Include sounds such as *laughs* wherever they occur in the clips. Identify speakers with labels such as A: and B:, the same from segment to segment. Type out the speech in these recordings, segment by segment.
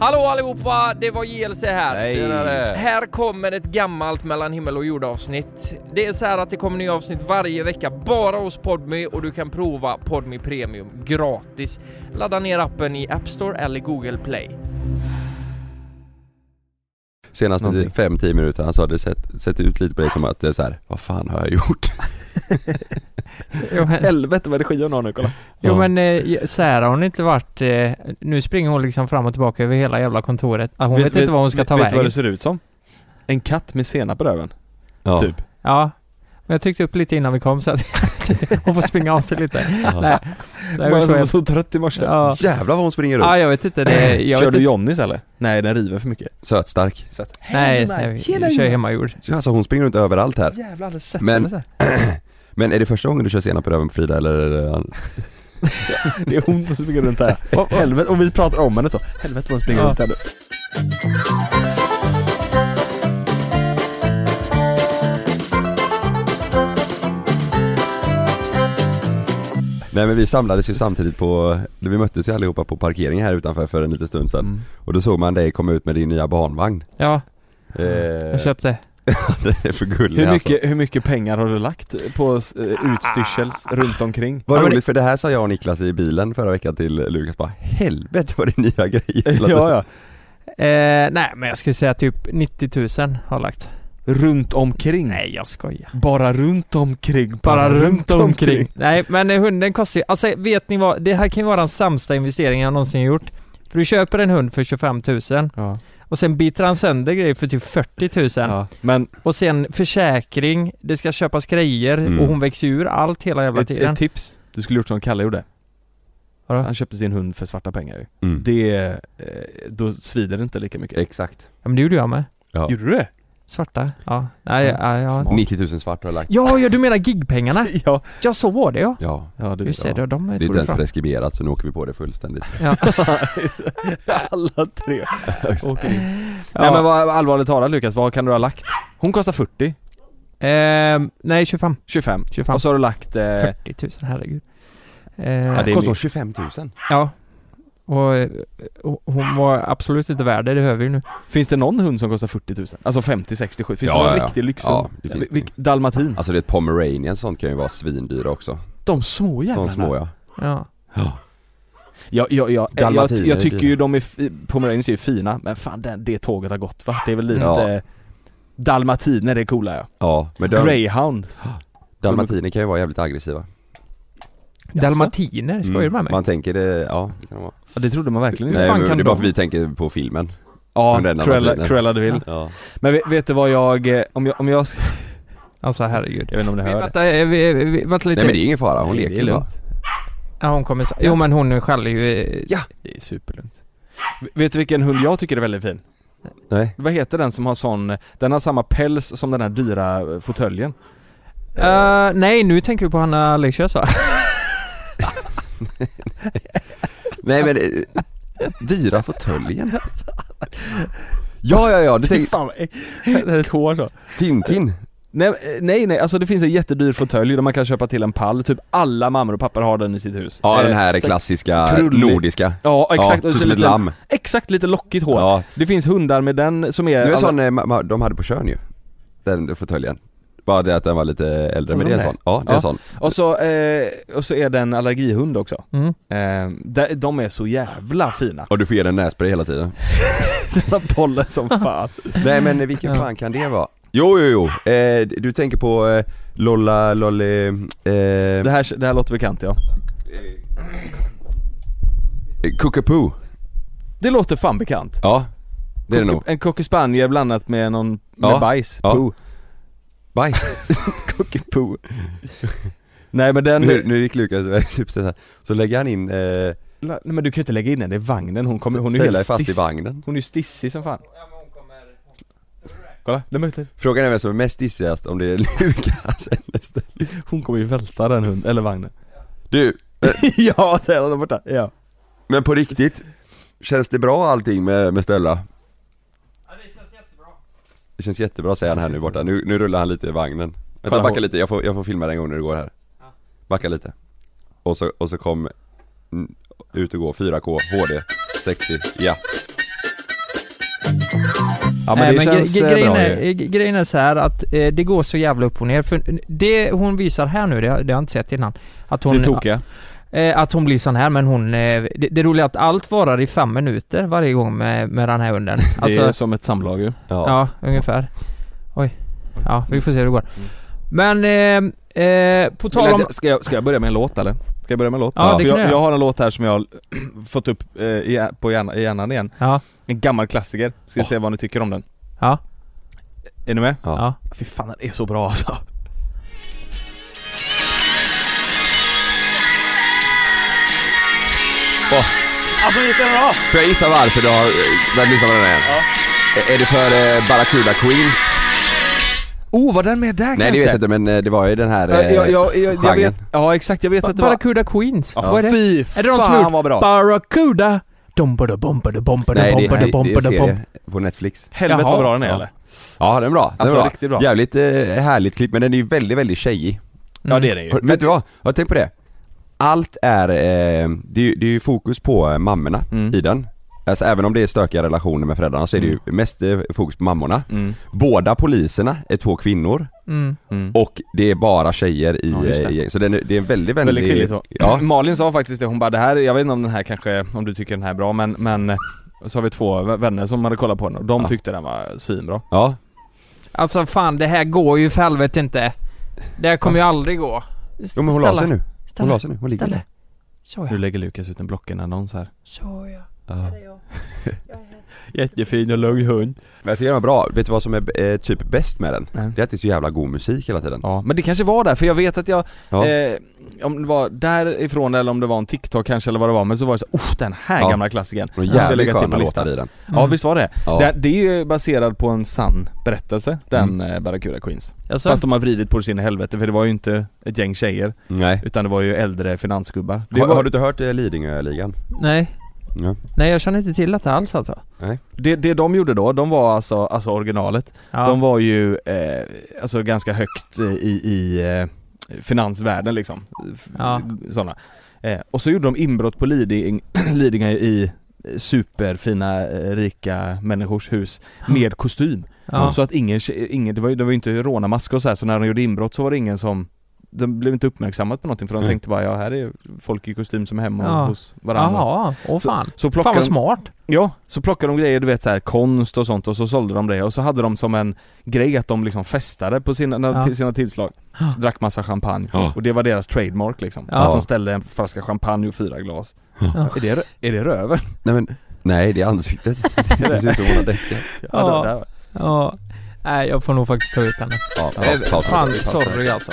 A: Hallå allihopa, det var JLC här.
B: Hej. Tjenare.
A: Här kommer ett gammalt mellan himmel och jord avsnitt. Det är så här att det kommer nya avsnitt varje vecka bara hos Podmy och du kan prova Podmy Premium gratis. Ladda ner appen i App Store eller Google Play.
B: Senaste
C: Någonting.
B: 5-10 minuterna så har det sett, sett ut lite på dig som att det är så här, vad fan har jag gjort?
D: Jo men,
C: Helvete vad energi hon har nu, kolla.
D: jo,
B: Ja.
D: men eh, Sarah hon har inte varit... Eh, nu springer hon liksom fram och tillbaka över hela jävla kontoret. Ah, hon vet, inte vad hon ska ta
C: vet, Vet du
D: vägen.
C: vad det ser ut som? En katt med senap på röven,
B: Ja.
C: typ.
D: Ja. Men jag tryckte upp lite innan vi kom så att *laughs* hon får springa av sig lite.
B: Ja.
D: Nej. Det
C: Jag
D: här var
C: var
D: så
C: så,
D: helt-
C: så trött i morse.
D: Ja.
B: Jävlar vad hon springer runt.
D: ja, jag vet inte. Det, jag
C: Kör
D: vet
C: du
D: inte.
C: Johnnys eller? Nej, den river för mycket.
B: Sötstark.
D: Nej, nej, vi kör hemmagjord.
B: Alltså hon springer runt överallt här.
C: Jävlar, aldrig sett
B: Men-
C: henne så här.
B: Men är det första gången du kör senap på röven på Frida eller? är det-
C: Det är hon som springer
B: *laughs*
C: runt här. Och, helvete, och vi pratar om henne så. Helvete vad hon springer
D: Ja.
C: runt här nu.
B: Nej men vi samlades ju samtidigt på, vi möttes ju allihopa på parkeringen här utanför för en liten stund sedan. Och då såg man dig komma ut med din nya barnvagn.
D: Ja,
B: Eh,
D: jag köpte.
B: *laughs* det är för gullig
C: Hur,
B: alltså.
C: mycket, hur mycket pengar har du lagt på eh,
D: Ah.
C: utstyrsel runt omkring?
B: Vad
C: Ja, men-
B: roligt för det här sa jag och Niklas i bilen förra veckan till Lukas bara Helvete vad det är nya grejer hela tiden."
C: *laughs* Ja, ja.
D: Eh, nej, men jag skulle säga typ 90 000 har lagt.
C: Runt omkring.
D: Nej, jag skojar.
C: Bara runt omkring.
D: Bara runt omkring. Nej, men eh, hunden kostar ju... Alltså vet ni vad? Det här kan ju vara den sämsta investeringen jag någonsin gjort. För du köper en hund för 25 000
C: Ja.
D: och sen biter han sönder grejer för typ 40 000.
C: Ja. Men
D: Och sen försäkring, det ska köpas grejer
B: Mm.
D: och hon växer ur allt hela jävla
C: ett,
D: tiden.
C: ett tips. Du skulle gjort som Kalle gjorde.
D: Vadå?
C: Han köpte sin hund för svarta pengar ju.
B: Mm.
C: Det, eh, då svider det inte lika mycket.
B: Exakt.
D: Ja men det gjorde jag med.
B: Ja.
C: Gjorde du det?
D: Svarta. Ja. Nej,
C: Ja,
D: ja, ja.
C: smart.
B: 90 000 svart har jag lagt.
D: ja, ja du menar
C: *laughs*
D: gigpengarna?
C: Ah. Ja.
D: Ja så var det ja.
B: Ja.
C: Ja, du
D: Just
C: vet.
D: det,
C: Ja.
D: då, de är
B: Det är inte ens
D: bra.
B: preskriberat så nu åker vi på det fullständigt.
D: Ja.
C: *laughs* Alla *laughs* tre. Åker in. Nej men
D: ja.
C: vad allvarligt talat Lukas, vad kan du ha lagt? Hon kostar 40,
D: Ehm, nej 25.
C: 25.
D: 25.
C: Och så har du lagt... Eh,
D: 40 000, herregud. Eh,
C: Ja,
D: ja,
C: det är
B: Kostar
C: mycket.
B: 25 000?
D: och, eh, och hon var absolut inte värd det, det hör vi ju nu.
C: Finns det någon hund som kostar 40 000? Alltså 50, 60, 70? Finns
B: Ja,
C: det någon
B: ja, ja.
C: riktig lyxhund?
B: Ja, det finns
C: Vil- vilk- Dalmatin?
B: Alltså det är ett pomeranian sånt kan ju vara svindyra också.
C: De små jävlarna.
B: De små ja.
D: Ja.
C: Ja, ja, ja. Jag, jag,
B: Dalmatiner är
C: jag tycker
B: dyra.
C: ju de är, fi- pomeranians är ju fina, men fan det, det tåget har gått va? Det är väl lite...
B: Ja.
C: eh, Dalmatiner är coola ja.
B: Ja, men de,
C: Greyhound.
B: dalmatiner kan ju vara jävligt aggressiva.
D: Dalmatiner, skojar du med mig?
B: Mm, Man tänker det, ja det kan de vara.
C: Ja, det trodde man verkligen
B: Nej,
D: fan
B: men
D: kan
B: det är
D: de-
B: bara för vi tänker på filmen.
C: Ja,
B: Men den
C: Cruella,
B: dalmatinen.
C: Cruella de Vil.
B: Ja.
C: Men vet, vet du vad jag, eh, om jag, om jag, jag
D: Alltså herregud.
C: vet inte om ni
D: Vi,
C: hör det.
D: vänta, eh, vi, vi, vänta lite.
B: Nej men det är ingen fara, hon
C: Nej,
B: leker
C: det är
B: ju bara.
C: lugnt.
D: ja, hon kommer... så- Jo men hon skäller ju... eh,
B: Ja.
C: Det är superlugnt. V- Vet du vilken hund jag tycker är väldigt fin?
B: Nej.
C: Vad heter den som har sån, den har samma päls som den här dyra eh, fåtöljen?
D: Eh, nej, nu tänker du på Hanna Alicious va?
B: Nej men, eh, dyra
C: *laughs*
B: fåtöljen. Ja, ja, ja, du
C: Fy
B: tänker
C: *laughs* fan, eh, det här är ett hår så.
B: Tintin.
C: Nej, eh, nej, nej, alltså det finns en jättedyr fåtölj där man kan köpa till en pall, typ alla mammor och pappor har den i sitt hus.
B: Ja
C: Eh,
B: den här
C: så-
B: klassiska,
C: krullig.
B: nordiska.
C: Ja, exakt.
B: Ja, typ
C: Och så
B: som ett
C: lite,
B: lamm.
C: Exakt, lite lockigt hår.
B: Ja.
C: Det finns hundar med den som
B: Det
C: är...
B: var en
C: alla-
B: sån eh, ma- ma- de hade på Tjörn ju. Den fåtöljen. Bara det att den var lite äldre, men det är en sån. Ja, det är en
C: Ja.
B: sån.
C: Och så, eh, och så är det en allergihund också.
D: Mm.
C: Eh, där- de är så
B: *laughs*
C: jävla fina.
B: Och du får ge den nässpray hela tiden.
C: De bollar som fan.
B: Nej men *laughs* vilken
D: Ja.
B: fan kan det vara? Jo, jo, jo. Eh, du tänker på eh, Lolla, Lolly, eh,
C: *laughs* Det här, det här låter bekant ja.
B: Cockapoo.
C: Det låter fan bekant.
B: Ja, det är det nog.
C: En cocker spaniel blandat med någon, med
B: Ja.
C: bajs.
B: Ja.
C: Poo.
B: Bye.
C: Cockapoo. Nej men den...
B: Nu, nu gick Lukas iväg typ så här. Så lägger han in, eh,
C: Nej men du kan ju inte lägga in den, det är vagnen. Hon kommer, hon är ju
B: ställer
C: helt
B: fast i
C: stiss.
B: vagnen.
C: Hon är ju stissig som fan. Kolla, lämna ut den.
B: Frågan är vem som är mest dissigast, om det är *laughs* Lukas eller Stella.
C: Hon kommer ju välta den hunden, eller vagnen.
B: Du,
C: *laughs* ja, säger han där borta. Ja.
B: men på riktigt. Känns det bra allting med, med Stella? Det känns jättebra säger han här nu borta, nu, nu rullar han lite i vagnen Vänta
C: Kolla
B: backa
C: hår.
B: lite, jag får, jag får filma dig en gång när du går här Backa lite Och så, och så kom mm, Ut och gå 4K, HD 60, ja
C: Ja men
D: Nej,
C: det
D: men
C: känns
D: gre-
C: eh,
D: gre- grejen,
C: bra
D: är,
C: ju.
D: eh, grejen är så här att eh, det går så jävla upp och ner. För det hon visar här nu, det, har- det har jag inte sett innan. Att hon,
C: Det tokiga.
D: eh, att hon blir sån här men hon... Eh, det, det roliga är att allt varar i fem minuter varje gång med, med den här
B: *laughs*
D: hunden. Alltså,
C: det är som ett samlag ju.
B: Ja.
D: Ja, ungefär. Oj. Ja, vi får se hur det går.
B: Mm.
D: Men, eh, eh, på tal om...
C: Ska jag, ska jag börja med en låt eller? Ska jag börja med en låt?
D: Ja, det
C: För
D: kan du
C: jag,
D: göra.
C: jag har en låt här som jag *clears throat* har fått upp eh, i, på hjärnan, i hjärnan igen.
D: Ja,
C: En gammal klassiker. Ska vi
B: Åh.
C: se vad ni tycker om den.
D: ja,
C: Är ni med?
D: ja.
C: Fy fan den är så bra alltså. Alltså visst är den bra?
B: Får jag gissa varför du har eh, börjat lyssna på den här igen? Är- Är det för eh, Barracuda Queens?
C: Oh var den med där
B: Nej det vet jag inte men eh, det var ju den här eh,
C: jag, jag, jag, jag vet,
B: genren.
C: Ja exakt, jag vet
D: Ba-
C: att det var...
D: Barracuda Queens.
C: Ja,
D: Vad är det?
C: Fy
D: Är det de som har
C: fan
D: gjort
C: vad bra!
D: Barracuda! Dompade, bompade, bompade,
B: Nej det,
D: bompade,
B: det, det är en
D: bompade, bompade.
B: serie på Netflix
C: Helvete
D: Jaha.
C: vad bra den är
B: Ja.
C: eller?
B: Ja den är bra, den
C: Alltså,
B: är bra.
C: riktigt bra.
B: Jävligt eh, härligt klipp men den är ju väldigt väldigt tjejig
C: Ja det är den ju. Mm.
B: Hör- Vet du vad? Jag har tänkt på det Allt är, eh, det, är ju- det är ju fokus på eh, mammorna
C: Mm.
B: i den Alltså även om det är stökiga relationer med föräldrarna så är det ju mest eh, fokus på mammorna
C: Mm.
B: Båda poliserna är två kvinnor
D: Mm.
C: Mm.
B: och det är bara tjejer i,
C: Ja, just det.
B: eh, i så den är, det är en väldigt väldigt,
C: Väldigt kvinnligt så.
B: Ja,
C: Mm. Malin sa faktiskt det, hon bara det här, jag vet inte om den här kanske, om du tycker den här är bra men, men eh, så har vi två v- vänner som hade kollat på den och de
B: Ja.
C: tyckte den var svinbra.
B: ja,
D: Alltså fan, det här går ju för helvete inte. Det här kommer ju aldrig gå. S-
B: jo, men hon la sig nu, hon la
D: Ställa,
B: sig nu, hon ligger
D: ställa.
B: där.
D: Så
C: Nu
D: ja,
C: lägger Lukas ut en Blocken-annons här.
D: så ja.
B: ja.
C: Jättefin och lugn hund.
B: Men jag tycker den är bra, vet du vad som är eh, typ bäst med den?
C: Nej.
B: Det är att det är så jävla god musik hela tiden
C: Ja, men det kanske var där, för jag vet att jag,
B: Ja.
C: eh, om det var därifrån eller om det var en TikTok kanske eller vad det var, men så var det så oh den här
B: Ja.
C: gamla klassikern.
B: Och
C: Måste jag
B: jävligt
C: lägga till
B: sköna
C: på
B: låtar
C: listan?
B: i den
C: Ja visst var det
B: Ja.
C: det? Det är ju baserad på en sann berättelse, den
B: Mm.
C: eh, Barracuda Queens.
D: Alltså,
C: Fast de har vridit på det sin i helvete för det var ju inte ett gäng tjejer,
B: Nej
C: utan det var ju äldre finansgubbar. Det
B: har,
C: var,
B: har du inte hört eh, Lidingöligan?
D: nej.
B: Ja.
D: Nej, jag känner inte till detta alls alltså.
C: det, det de gjorde då, de var alltså, alltså originalet,
D: Ja.
C: de var ju eh, alltså ganska högt eh, i, i eh, finansvärlden liksom. F-
D: Ja.
C: Sådana. Eh, och så gjorde de inbrott på Liding, *clears throat* Lidingö i eh, superfina eh, rika människors hus med kostym.
D: ja.
C: Så att ingen, tje- ingen det, var ju, det var ju inte rånarmasker och så här, så när de gjorde inbrott så var det ingen som De blev inte uppmärksammat på någonting för de
B: Nej.
C: tänkte bara ja här är folk i kostym som är hemma
D: Mm. Ja.
C: hos varandra
D: Jaha, åh
C: Så-
D: fan.
C: Så
D: Fan
C: plockade
D: vad
C: de,
D: smart.
C: ja, så plockade de grejer du vet så här, konst och sånt och så sålde de det och så hade de som en grej att de liksom festade på sina,
D: Ja.
C: till
D: *gasps*
C: sina tillslag
D: Ja.
C: Drack massa champagne
B: Ja.
C: och det var deras trademark liksom
D: Ja.
C: Att de ställde en flaska champagne och fyra glas
D: Ja.
C: Är det, rö- är det röven?
B: Nej men, nej det är *laughs* ansiktet Det ser ut som hon har däckat
D: *laughs* Ja.
C: det där var-
D: Ja. Nej, jag får nog faktiskt ta ut henne.
B: Ja,
C: Eh,
B: pass, pass,
D: Fan,
B: pass.
D: sorry alltså.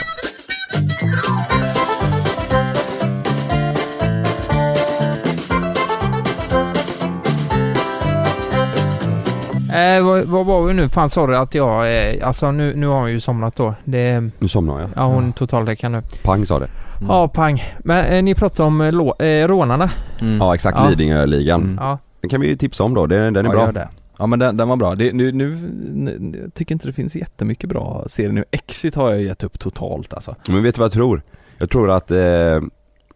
D: Eh, vad, vad var vi nu? Fan sorry att jag... Eh, alltså nu, nu har hon ju somnat då. Det,
B: Nu somnar jag,
D: ja hon totaldäckar nu.
B: pang sa det
D: Ja, pang. Men eh, ni pratade om eh, lå- eh, rånarna.
C: Mm.
B: Ja exakt,
D: Ja.
B: Lidingöligan
C: Mm.
D: Ja.
B: Den kan vi ju tipsa om då, den, den är
C: ja,
B: bra
C: Gör det. Ja men den, den var bra. Det, nu, nu, nu, jag tycker inte det finns jättemycket bra serier nu. Exit har jag gett upp totalt alltså.
B: Men vet du vad jag tror? Jag tror att, eh,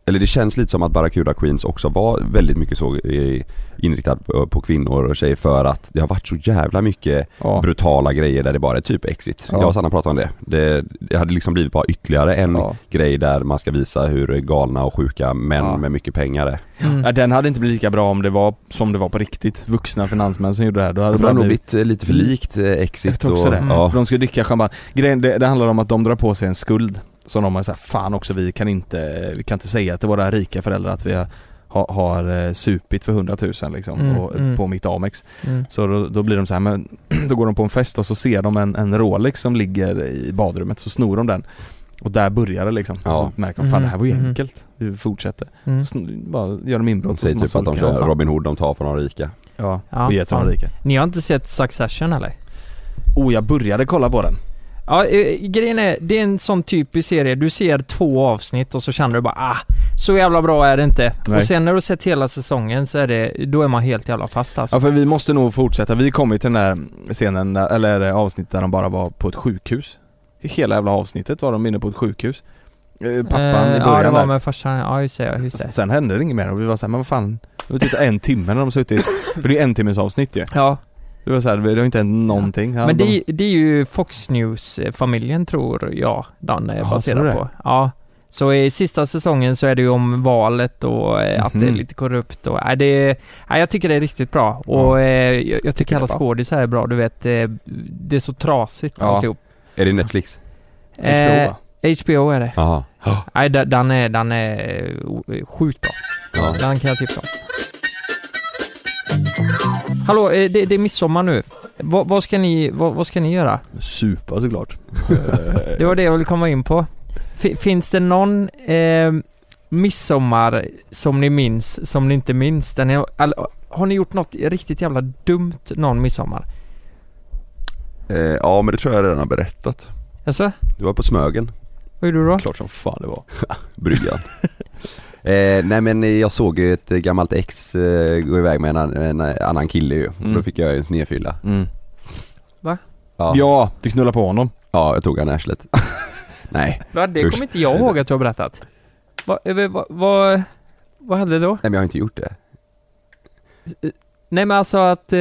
B: eller det känns lite som att Barracuda Queens också var väldigt mycket så eh, inriktad på, på kvinnor och tjejer för att det har varit så jävla mycket
C: Ja.
B: brutala grejer där det bara är typ exit.
C: Ja.
B: Jag och Sanna pratade om det. det. Det hade liksom blivit bara ytterligare en
C: Ja.
B: grej där man ska visa hur galna och sjuka män
C: Ja.
B: med mycket pengar är.
D: Mm.
C: Ja, den hade inte blivit lika bra om det var som det var på riktigt. Vuxna finansmän som gjorde det här. Då hade
B: Det
C: det
B: har
C: bara
B: nog
C: blivit...
B: blivit eh, lite för likt eh,
C: Jag
B: exit
C: tror också
B: och,
C: det.
B: ja.
C: För De skulle dricka champagne. Grejen, det, det handlar om att de drar på sig en skuld. Som de har såhär, fan också vi kan inte, vi kan inte säga till våra rika föräldrar att vi har, har, har eh, supit för 100 000 liksom.
D: Mm,
C: och,
D: mm.
C: På mitt Amex.
D: Mm.
C: Så då, då blir de så här, men *clears throat* då går de på en fest och så ser de en, en Rolex som ligger i badrummet, så snor de den. Och där börjar det liksom.
B: Ja.
C: Så märker de, fan det här var ju
D: Mhm.
C: enkelt. Vi fortsätter.
D: Mm.
C: Så sn- bara gör de inbrott.
B: De
C: hos
B: säger typ
C: massa
B: att de
C: olika-
B: kör Robin Hood, de tar från de rika.
C: Ja,
D: Ja,
C: och ger till de
D: fan.
C: rika.
D: Ni har inte sett Succession eller?
C: Oh, jag började kolla på den.
D: Ja, eh, grejen är, det är en sån typisk serie. Du ser två avsnitt och så känner du bara ah, så jävla bra är det inte.
C: Nej.
D: Och sen när du har sett hela säsongen så är det, då är man helt jävla fast alltså.
C: Ja för vi måste nog fortsätta. Vi kom ju till den där scenen, där, eller det avsnittet där de bara var på ett sjukhus. Hela jävla avsnittet var de inne på ett sjukhus. Eh, Pappan
D: Eh, Ja,
C: i
D: det
C: början
D: var
C: där.
D: med farsan. Ja, just det. Ja, just det.
C: S- Sen typ hände det inget mer och vi var såhär, men vad fan. Vi tittade en timme när de suttit, för det är ju en timmes avsnitt ju.
D: Ja.
C: Det var så här, det har ju inte hänt någonting. Ja,
D: Men
C: de-
D: det, det är ju Fox News-familjen tror jag den är
C: Jaha,
D: baserad
C: tror du det?
D: på. Ja. Så i sista säsongen så är det ju om valet och eh, att det är
C: Mhm.
D: lite korrupt och, nej, det, nej, jag tycker det är riktigt bra. Och eh, jag, jag tycker, alla
C: det är bra.
D: skådisar är bra, du vet. eh, Det är så trasigt
C: Ja.
D: alltihop.
B: Är det Netflix?
C: HBO,
D: Eh,
C: va?
D: HBO är det.
B: Jaha.
D: Nej, d- den är, den är eh, sjukt bra.
B: Ja.
D: Den kan jag tipsa om. Hallå, eh, det, det är midsommar nu. Vad- vad ska ni, vad- vad ska ni göra?
C: Supa såklart.
B: *laughs*
D: Det var det jag ville komma in på. Fi- finns det någon eh, midsommar som ni minns, som ni inte minns? Den är, all- har ni gjort något riktigt jävla dumt någon midsommar?
B: Eh, ja men det tror jag redan har berättat.
D: Alltså,
B: Du var på Smögen,
D: vad gjorde du då?
C: Klart som fan det var.
B: *laughs* bryggan. eh, nej men jag såg ju ett gammalt ex eh, gå iväg med en, an- en annan kille ju.
C: Mm.
B: Då fick jag ju en snedfylla.
C: Ja.
B: Ja.
C: du knullade på honom.
B: ja, jag tog han i arslet. *laughs* nej.
D: Va, det
B: Usch.
D: kommer inte jag ihåg att du har berättat. Va, eh, va, va, vad hände då?
B: Nej men jag har inte gjort det.
D: Nej men alltså att, eh,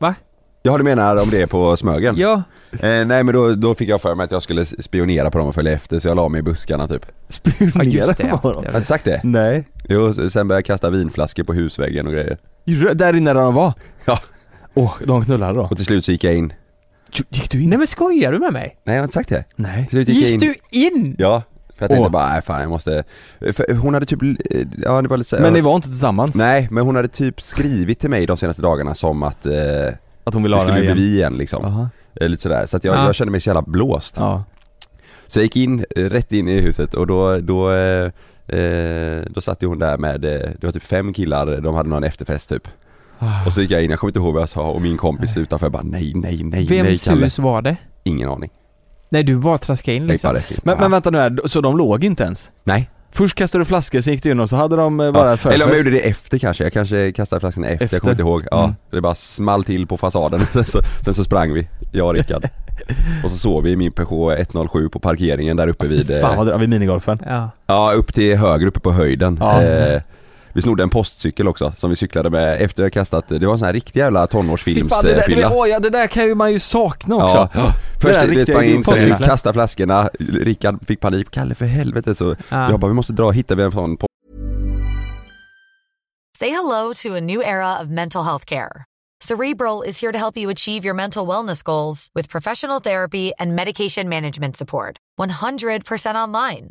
D: ja,
B: Ja du menar om det är på Smögen?
D: ja,
B: Eh, nej men då, då fick jag för mig att jag skulle spionera på dem och följa efter så jag la mig i buskarna typ.
D: ja
C: Spionera
D: just det.
C: på honom.
B: Har du
D: ja.
B: inte sagt det?
C: Nej.
B: Jo, sen började jag kasta vinflaskor på husväggen och grejer.
C: Gjorde du det? Där inne där de var?
B: Ja.
C: Åh, de knullade då?
B: Och till slut så gick jag in.
C: Gick du in?
D: Nej men skojar du med mig?
B: Nej jag har inte sagt det.
C: Nej.
B: Till slut gick jag in.
D: Gick du in?
B: Ja, för jag tänkte
C: Åh.
B: bara nej fan jag måste, för hon hade typ, ja det var lite så,
C: Men ni var inte tillsammans?
B: Nej men hon hade typ skrivit till mig de senaste dagarna som att eh, det
C: Att hon ville ha den
B: skulle
C: här
B: bli
C: igen?
B: vi igen liksom,
C: Aha.
B: Eh, lite sådär. Så att jag,
D: Ja.
B: jag kände mig så jävla blåst.
C: Ja.
B: Så jag gick in, eh, rätt in i huset och då, då, eh, eh, då satt ju hon där med, eh, det var typ fem killar, de hade någon efterfest typ. Och så gick jag in, jag kommer inte ihåg vad jag sa och min kompis utanför bara nej, nej, nej, nej
D: Vems
B: Kalle.
D: hus var det?
B: Ingen aning.
D: Nej du bara traskade in
B: Jag gick
D: liksom.
B: bara rätt in.
C: Liksom. Men,
B: Ja.
C: men vänta nu här, så de låg inte ens?
B: Nej.
C: Först kastade du flaskor, sen gick du in och så hade de eh, bara förfest?
B: Eller om jag gjorde det efter kanske, jag kanske kastade flaskan efter,
C: Efter.
B: jag kommer inte ihåg. Ja,
C: Mm.
B: det bara small till på fasaden, *laughs* sen så, sen så sprang vi, jag och
C: *laughs*
B: Rickard. och så sov vi i min Peugeot 107 på parkeringen där uppe vid, eh,
C: Fan vad det, vid minigolfen?
D: Ja.
B: ja upp till höger uppe på höjden.
C: Ja.
B: Eh, vi snodde en postcykel också som vi cyklade med efter jag kastat, det var en sån här riktig jävla
C: Fy fan, det, där, det,
B: tonårsfilmsfylla.
C: åh, ja, det där kan ju man ju sakna också.
B: Ja. Först
C: där
B: det,
C: riktiga
B: det sprang in, sen
C: postcyklar.
B: kastade flaskorna, Rickard fick panik, Kalle för helvete så
D: Ja.
B: jag bara vi måste dra, hittar vi en sån
E: Say hello to a new era of mental health care. Cerebral is here to help you achieve your mental wellness goals with professional therapy and medication management support. 100% online.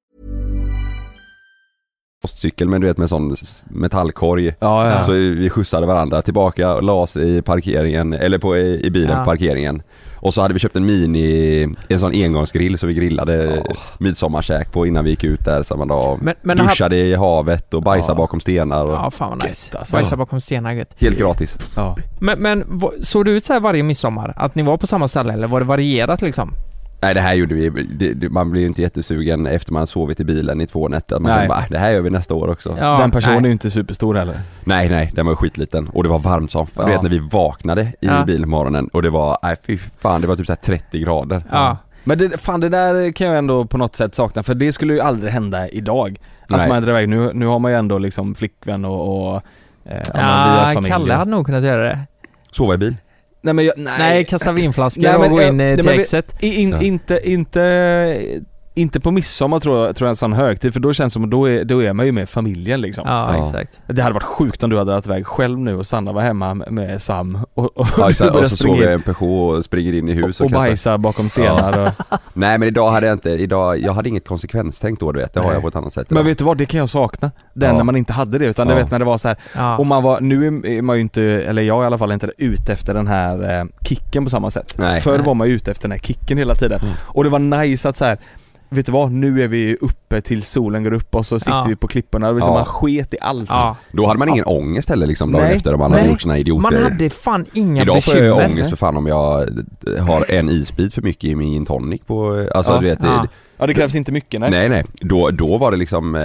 B: postcykel men du vet med sån s- metallkorg.
C: Ja, ja.
B: Så vi skjutsade varandra tillbaka och la oss i parkeringen, eller på, i i bilen
D: Ja.
B: på parkeringen. Och så hade vi köpt en mini, en sån engångsgrill så vi grillade
C: Ja.
B: midsommarkäk på innan vi gick ut där samma dag.
D: Men, men han,
B: Duschade i havet och bajsade
C: Ja.
B: bakom stenar. Och,
D: ja fan vad
C: Gött,
D: nice.
C: alltså.
D: Bajsa bakom stenar gött.
B: Helt gratis.
C: ja.
D: Men, men vad- såg det ut så här varje midsommar? Att ni var på samma ställe eller var det varierat liksom?
B: Nej det här gjorde vi, det, det, man blir ju inte jättesugen efter man sovit i bilen i två nätter. Man
C: Nej.
B: känner bara, "Äh, det här gör vi nästa år också.
D: Ja,
C: Den personen är
D: nej.
C: ju inte superstor heller.
B: Nej nej, den var ju skitliten och det var varmt som fan. Du
C: Ja.
B: vet när vi vaknade i
D: Ja.
B: bilen på morgonen och det var, nej fy fan det var typ så här 30 grader.
D: Ja.
C: Men det, fan det där kan jag ändå på något sätt sakna för det skulle ju aldrig hända idag. Att
B: Nej.
C: man drar iväg, nu, nu har man ju ändå liksom flickvän och, och eh, ja, men via
D: Ja,
C: familj.
D: Kalle hade nog kunnat göra det.
B: Sova i bil.
C: Nej men jag,
D: Nej,
C: nej,
D: kasta vinflaskor
C: Nej, men
D: och gå
C: jag-
D: in
C: nej,
D: eh,
C: men
D: till
C: vi-
D: exet.
C: I- in,
B: Ja.
C: inte, inte inte på midsommar tror jag, tror jag en sån högtid för då känns det som att då är, då är man ju med familjen liksom.
D: Ja,
B: Ja.
D: exakt.
C: Det hade varit sjukt om du hade varit iväg själv nu och Sanna var hemma med- med Sam och, och
B: Ja,
C: du
B: exakt.
C: börjar
B: och så
C: springa
B: sover jag i
C: in
B: en Peugeot och springer in i
C: och,
B: huset
C: och bajsar bakom stenar
B: *laughs*
C: och...
B: Nej men idag hade jag inte, idag, jag hade inget konsekvenstänk då du vet, det har
C: Nej.
B: jag på ett annat sätt
C: Men
B: idag.
C: vet du vad, det kan jag sakna. Den
B: Ja.
C: när man inte hade det utan du
B: Ja.
C: vet när det var så här.
D: Ja.
C: Och man var, nu är- är man ju inte, eller jag i alla fall, inte ute efter den här eh, kicken på samma sätt.
B: Nej.
C: Förr var man ju ute efter den här kicken hela tiden.
B: Mm.
C: Och det var nice att så här. Vet du vad? Nu är vi uppe till solen går upp och så sitter
D: Ja.
C: vi på klipporna. Det var som
B: Ja.
C: man sket i allt.
D: Ja.
B: Då hade man ingen ångest heller liksom dagen
C: Nej.
B: efter om man hade
D: Nej.
B: gjort sina
D: Man
B: idiotgrejer.
D: hade fan inga
B: Idag får
D: bekymmer.
B: jag ju ångest för fan om jag eh, har en isbit för mycket i min gin tonic på, alltså
C: Ja.
B: du vet,
D: Ja.
C: Ja det krävs inte mycket nej.
B: nej nej, Då, då var det liksom, eh,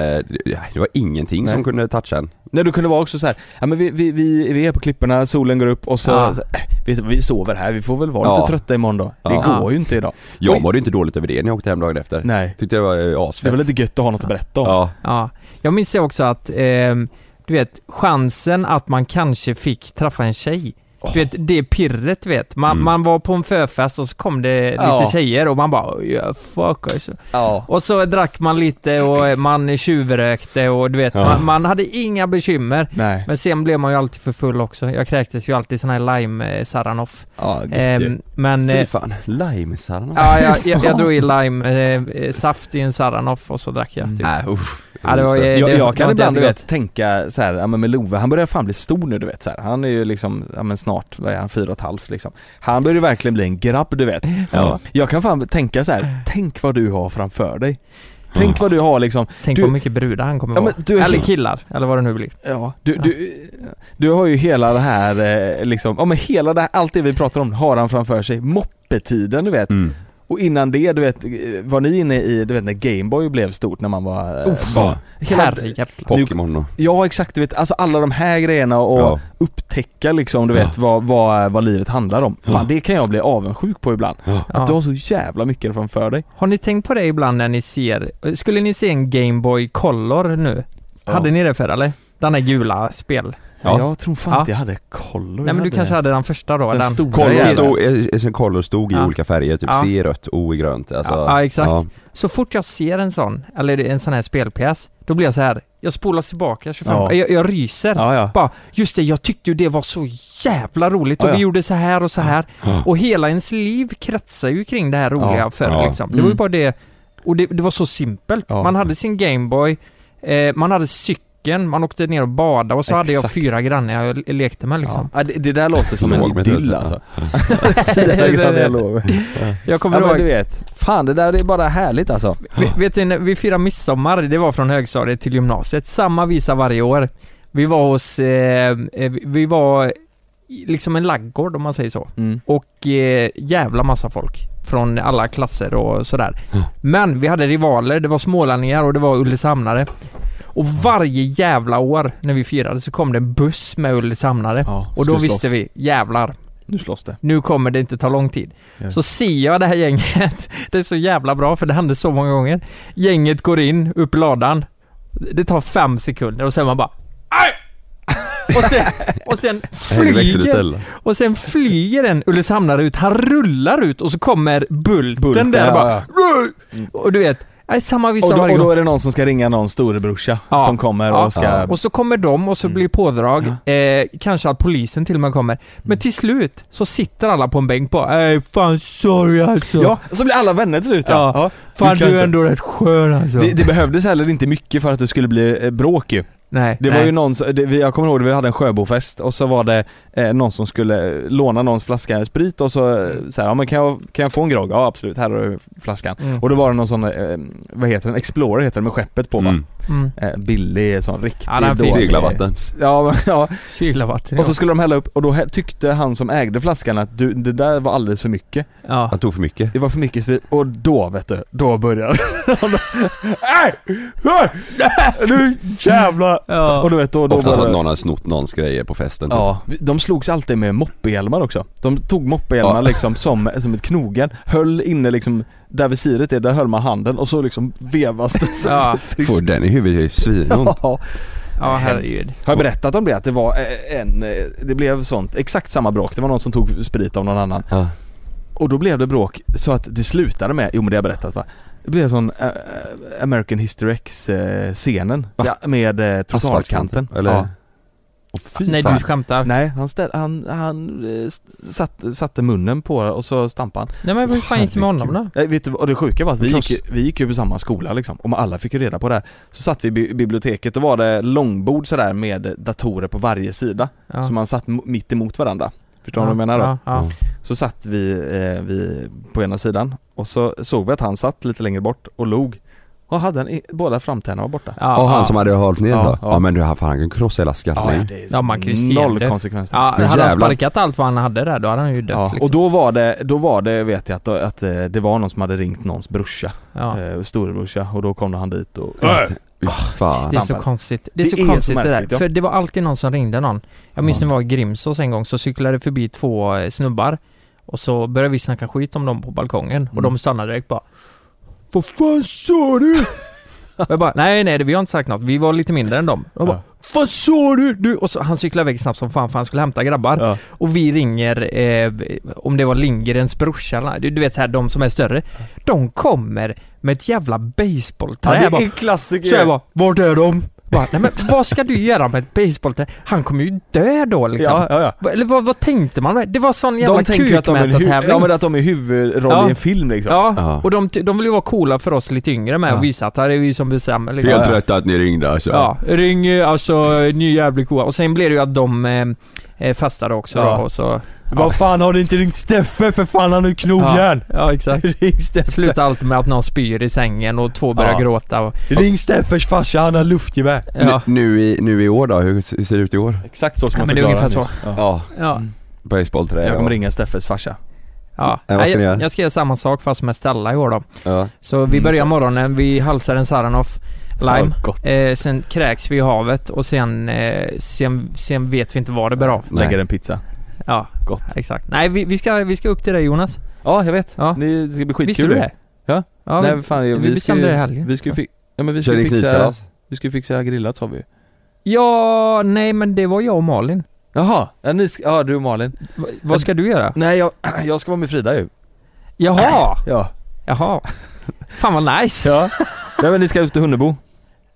B: det var ingenting
C: Nej.
B: som kunde toucha en.
C: Nej du kunde vara också så här. ja men vi, vi, vi, vi är på klipporna, solen går upp och så,
D: Ja.
C: så äh, vet du, vi sover här, vi får väl vara
B: Ja.
C: lite trötta imorgon då. Det
B: Ja.
C: går ju inte idag.
B: Jag
C: Oj.
B: mådde inte dåligt över det när jag åkte hem dagen efter.
C: Nej.
B: Tyckte jag var eh,
C: Det
B: asfett.
C: var lite gött att ha något att berätta om.
B: Ja,
D: Ja, jag minns ju också att, ehm, du vet, chansen att man kanske fick träffa en tjej. Du vet, det pirret du vet. Man,
B: Mm.
D: man var på en förfest och så kom det lite
C: Ja.
D: tjejer och man bara "Oh, yeah, fuck alltså.
C: Ja.
D: Och så drack man lite och man tjuvrökte och du vet,
B: Ja.
D: man, man hade inga bekymmer.
C: Nej.
D: Men sen blev man ju alltid för full också. Jag kräktes ju alltid i sån här lime eh, Saranoff.
C: Ja, gött ju.
D: Ehm, men...
B: fy
D: eh,
B: fan. Limesarna.
D: Ja, jag, jag, jag drog i lime eh, eh, saft i en Saranoff och så drack jag
C: Mm.
D: typ.
B: Nej usch.
D: Ja, det var eh, ju-
C: jag,
D: det-
C: jag
D: det
C: kan
D: var inte
C: ibland du
D: jättegott.
C: vet tänka så här, ja men med Love, han börjar fan bli stor nu du vet så här. Han är ju liksom, ja men snart, vad är han, fyra och ett halvt liksom. Han börjar ju verkligen bli en grabb du vet.
B: Ja.
C: Jag kan fan tänka så här, tänk vad du har framför dig. Tänk vad du har liksom,
D: Tänk
C: Du-
D: vad mycket brudar han kommer
C: Ja,
D: vara.
C: men du är-
D: Eller killar, eller vad det nu blir.
C: ja, du, du, du har ju hela det här eh, liksom, ja men hela det här, allt det vi pratar om har han framför sig. Moppetiden du vet.
B: Mm.
C: Och innan det du vet, eh, var ni inne i, du vet när Gameboy blev stort när man var eh,
D: Oh,
C: barn? Hela,
D: Herrejävlar.
B: Pokémon och...
C: ja exakt, du vet, alltså alla de här grejerna och
B: Ja.
C: upptäcka liksom, du vet vad, vad, vad livet handlar om. Fan det kan jag bli avundsjuk på ibland. Att du har
D: Ja.
C: så jävla mycket framför dig.
D: Har ni tänkt på det ibland när ni ser, skulle ni se en Gameboy Color nu?
C: Ja.
D: Hade ni det för eller? Den här gula spel?
B: Ja.
C: Jag tror fan
D: Ja.
C: inte jag hade koll.
D: Nej men du kanske hade den första då?
C: den,
D: Den
C: stora
B: Kollo
C: jäveln.
B: stod, eh, sen kollo stod i
D: Ja.
B: olika färger, typ
D: Ja.
B: C i rött, O i grönt. Alltså,
D: Ja, ja, exakt. Så fort jag ser en sån, eller en sån här spelpjäs, då blir jag så här. jag spolar tillbaka 25,
C: Ja.
D: jag, jag ryser.
C: Ja ja.
D: Bara, just det, jag tyckte ju det var så jävla roligt och
C: Ja, ja.
D: vi gjorde så här och så här. Och hela ens liv kretsar ju kring det här roliga
C: Ja,
D: förr
B: ja.
D: liksom. Det var ju
C: Mm.
D: bara det, och det, det var så simpelt.
C: Ja.
D: Man hade sin Gameboy, eh, man hade cykeln, man åkte ner och badade och så hade jag
C: Exakt.
D: fyra grannar jag le- lekte med *laughs* liksom.
C: Ja, det, det där låter som
B: Låg
C: en
B: med
C: idyll
B: tusen.
C: alltså. *laughs*
D: Det-
C: Fyra
D: det- *laughs*
C: jag lovar.
D: Jag kommer
C: Ja, men
D: ihåg,
C: du vet. Fan det där är bara härligt alltså.
D: vi- vet du, när vi firade midsommar, det var från högstadiet till gymnasiet, samma visa varje år. Vi var hos, eh, eh, vi var i- liksom en laggård om man säger så.
C: Mm.
D: och eh, jävla massa folk från alla klasser och sådär. Men vi hade rivaler, det var smålänningar och det var ulricehamnare. Och varje jävla år när vi firade så kom det en buss med ulricehamnare.
C: Ja,
D: Och då
C: skulle slåss.
D: visste vi, jävlar,
C: Nu slåss det.
D: nu kommer det inte ta lång tid.
C: Ja.
D: Så ser jag det här gänget, *laughs* det är så jävla bra för det hände så många gånger. Gänget går in, upp i ladan. Det tar fem sekunder och sen man bara "Aj!" *laughs* och sen, och
C: *laughs*
D: sen
B: Helvete du
D: flyger
B: ställer.
D: och sen flyger en Ulricehamnare ut, han rullar ut och så kommer Bulten, där och bara
C: ja. Mm.
D: Och du vet, nej, samma visa
C: Och då,
D: varje
C: och
D: gång.
C: då är det någon som ska ringa någon storebrorsa
D: Ja.
C: som kommer
D: Ja.
C: och ska...
B: Ja.
D: Och så kommer de och så blir pådrag, eh, kanske att polisen till och med kommer. Men till slut så sitter alla på en bänk på Ey fan sorry alltså.
C: Ja, så blir alla vänner till slut
D: Ja. fan
C: du kan
D: du är
C: inte.
D: ändå rätt skön alltså.
C: Det, det behövdes heller inte mycket för att det skulle bli eh, bråk ju.
D: nej,
C: Det
D: nej.
C: var ju någon, som- det, vi- jag kommer ihåg det, vi hade en sjöbofest och så var det eh, någon som skulle eh, låna någons flaska sprit och så, eh, så här, ja men kan jag, kan jag få en grogg? Ja absolut, här har du flaskan.
D: Mm.
C: Och då var det någon sån, eh, vad heter den, Explorer heter den med skeppet på va?
B: Mm.
D: Mm.
C: Eh, billig sån riktig
D: Ja, den är fin.
C: dålig-
B: Seglarvatten.
C: Ja, *laughs* men- ja,
D: Kylvatten.
C: och så skulle de hälla upp och då hä- tyckte han som ägde flaskan att du, det där var alldeles för mycket.
D: ja.
B: Han tog för mycket.
C: Det var för mycket sprit och då vet du, då *laughs* började *laughs* Nu jävlar!
D: Ja.
C: Och du vet då, då
B: Ofta så
C: var
B: att
C: det...
B: någon har snott någons grejer på festen. typ.
C: Ja, de slogs alltid med moppehjälmar också. De tog moppehjälmar
B: Ja.
C: liksom som, som ett knogen, höll inne liksom där visiret är, där höll man handen och så liksom vevas det så
D: Ja.
C: friskt.
B: Får den i huvudet, det är svinont.
C: Ja.
D: ja, herregud.
C: Har jag berättat om det? Att det var eh, en, eh, det blev sånt, exakt samma bråk. Det var någon som tog sprit av någon annan.
B: Ja.
C: Och då blev det bråk så att det slutade med, jo men det har jag berättat va? Det blir en sån eh, eh, American History X-scenen.
B: Va?
C: Ja, med eh, trottoarkanten.
B: Eller?
C: Ja.
B: Åh, fy
D: Nej
B: fan.
D: du skämtar. Nej,
C: Nej, han, ställ, han, han eh, s- satt, satte munnen på och så stampade han.
D: men vad fan gick det med honom då?
C: Nej, vet du, vad- och det sjuka var att vi
B: Kloss.
C: gick, vi gick ju på samma skola liksom, och alla fick ju reda på det här. Så satt vi i bi- biblioteket, och var det långbord sådär med datorer på varje sida.
D: Ja.
C: Så man satt m- mitt emot varandra. Förstår du
D: ja.
C: vad jag menar då?
D: Ja, ja.
C: Så satt vi, eh, vi på ena sidan och så såg vi att han satt lite längre bort och log. Och hade en, båda framtänderna var borta.
D: Ja,
B: Ja, han
D: ja.
B: som hade hållit ner
C: Ja,
B: då?
C: ja.
B: Ja men du, han, fan, han kan krossa hela skallen ju.
C: det är
D: Ja, man kan ju se
C: noll
D: det.
C: konsekvenser.
D: Ja,
B: Men
D: hade han
B: jävlar.
D: sparkat allt vad han hade där då hade han ju dött
C: Ja,
D: liksom.
C: och då var det, då var det vet jag att, att eh, det var någon som hade ringt någons brorsa,
D: ja.
C: eh, storebrorsa och då kom han dit och...
B: Fy fan.
D: Det är så
C: Stampad.
D: konstigt. Det är så
C: Det är så
D: konstigt det där.
C: märkligt, ja.
D: För det var alltid någon som ringde någon. Jag minns när vi var i Grimsås en gång så cyklade det förbi två eh, snubbar. Och så började vi snacka skit om dem på balkongen. Och de stannade direkt bara Vad fan sa du? *laughs* Och jag bara, nej nej det- vi har inte sagt något. Vi var lite mindre än dem. Och jag bara, Vad sa du? du? Och så, han cyklade iväg snabbt som fan för han skulle hämta grabbar.
C: Ja.
D: Och vi ringer, eh, om det var Lindgrens brorsa eller- du, du vet så här, de som är större. De kommer med ett jävla basebollträ. Jag bara,
C: en klassiker!
D: så jag bara, vart är de? Bara, Nej men vad ska du göra med ett basebollträ? Han kommer ju dö då liksom.
C: ja, ja, ja.
D: Va- Eller vad, vad tänkte man? Det var sån jävla
C: De tänker ju att de är, en hu-
D: kukmätartävling.
C: ja, men att de är huvudroll
D: Ja.
C: i en film liksom.
D: Ja,
B: Ja.
D: och de, ty- de vill ju vara coola för oss lite yngre med och visa att här är vi som bestämmer liksom.
B: Helt rätt att ni ringde alltså.
D: Ja, ring eh, alltså ny jävligt coola. Och sen blev det ju att de eh, eh, fastade också
C: Ja.
D: då och så...
C: Vad fan har du inte ringt Steffe för fan han har ju knogjärn?
D: Ja, exakt.
C: *laughs* Ring Steffe!
D: Slutar alltid med att någon spyr i sängen och två börjar
C: Ja.
D: gråta och,
C: Ring Steffers farsa, han har luftgevär!
D: ja.
B: Nu, nu, i, nu i år då, hur, s- hur ser det ut i år?
C: Exakt så som
D: Ja,
C: jag
D: men det är
C: förklarade
D: ungefär
C: nyss. Ja.
B: Ja,
D: ja.
B: basebollträ.
C: Jag kommer
B: ja.
C: ringa Steffes farsa.
D: Ja.
B: Nej, vad ska ni
D: jag,
B: göra?
D: jag ska göra samma sak fast med Stella i år då.
B: Ja.
D: Så vi
B: Mm,
D: börjar
B: så.
D: morgonen, vi halsar en Saranoff Lime.
C: Ja, gott.
D: Eh, sen kräks vi i havet och sen, eh, sen, sen vet vi inte vad det bär av.
B: Nej.
C: Lägger en pizza.
D: Ja,
C: Gott.
D: exakt. Nej, vi, vi, ska, vi ska upp till dig Jonas.
C: Ja, jag vet.
D: Ja.
C: Ni, det ska bli skitkul.
D: Visste du det?
C: Ja.
D: ja
C: Nej,
D: vi,
C: fan, jag-
D: vi
C: vi, ska
D: bestämde
C: ju,
D: det i helgen.
C: vi ska ju fi- ja, men vi ska
B: Kör
C: ju
B: ni
C: fixa,
B: knivkalas?
C: vi ska ju fixa grillat sa vi ju.
D: Ja, nej men det var jag och Malin.
C: Jaha, ja, ni ska, ja, du och Malin.
D: Va, vad ska du göra?
C: Nej, jag, *clears throat* jag ska vara med Frida ju.
D: Jaha!
C: Ja.
D: Jaha. Fan vad nice!
C: Ja. Nej men ni ska ut till Hunnebo.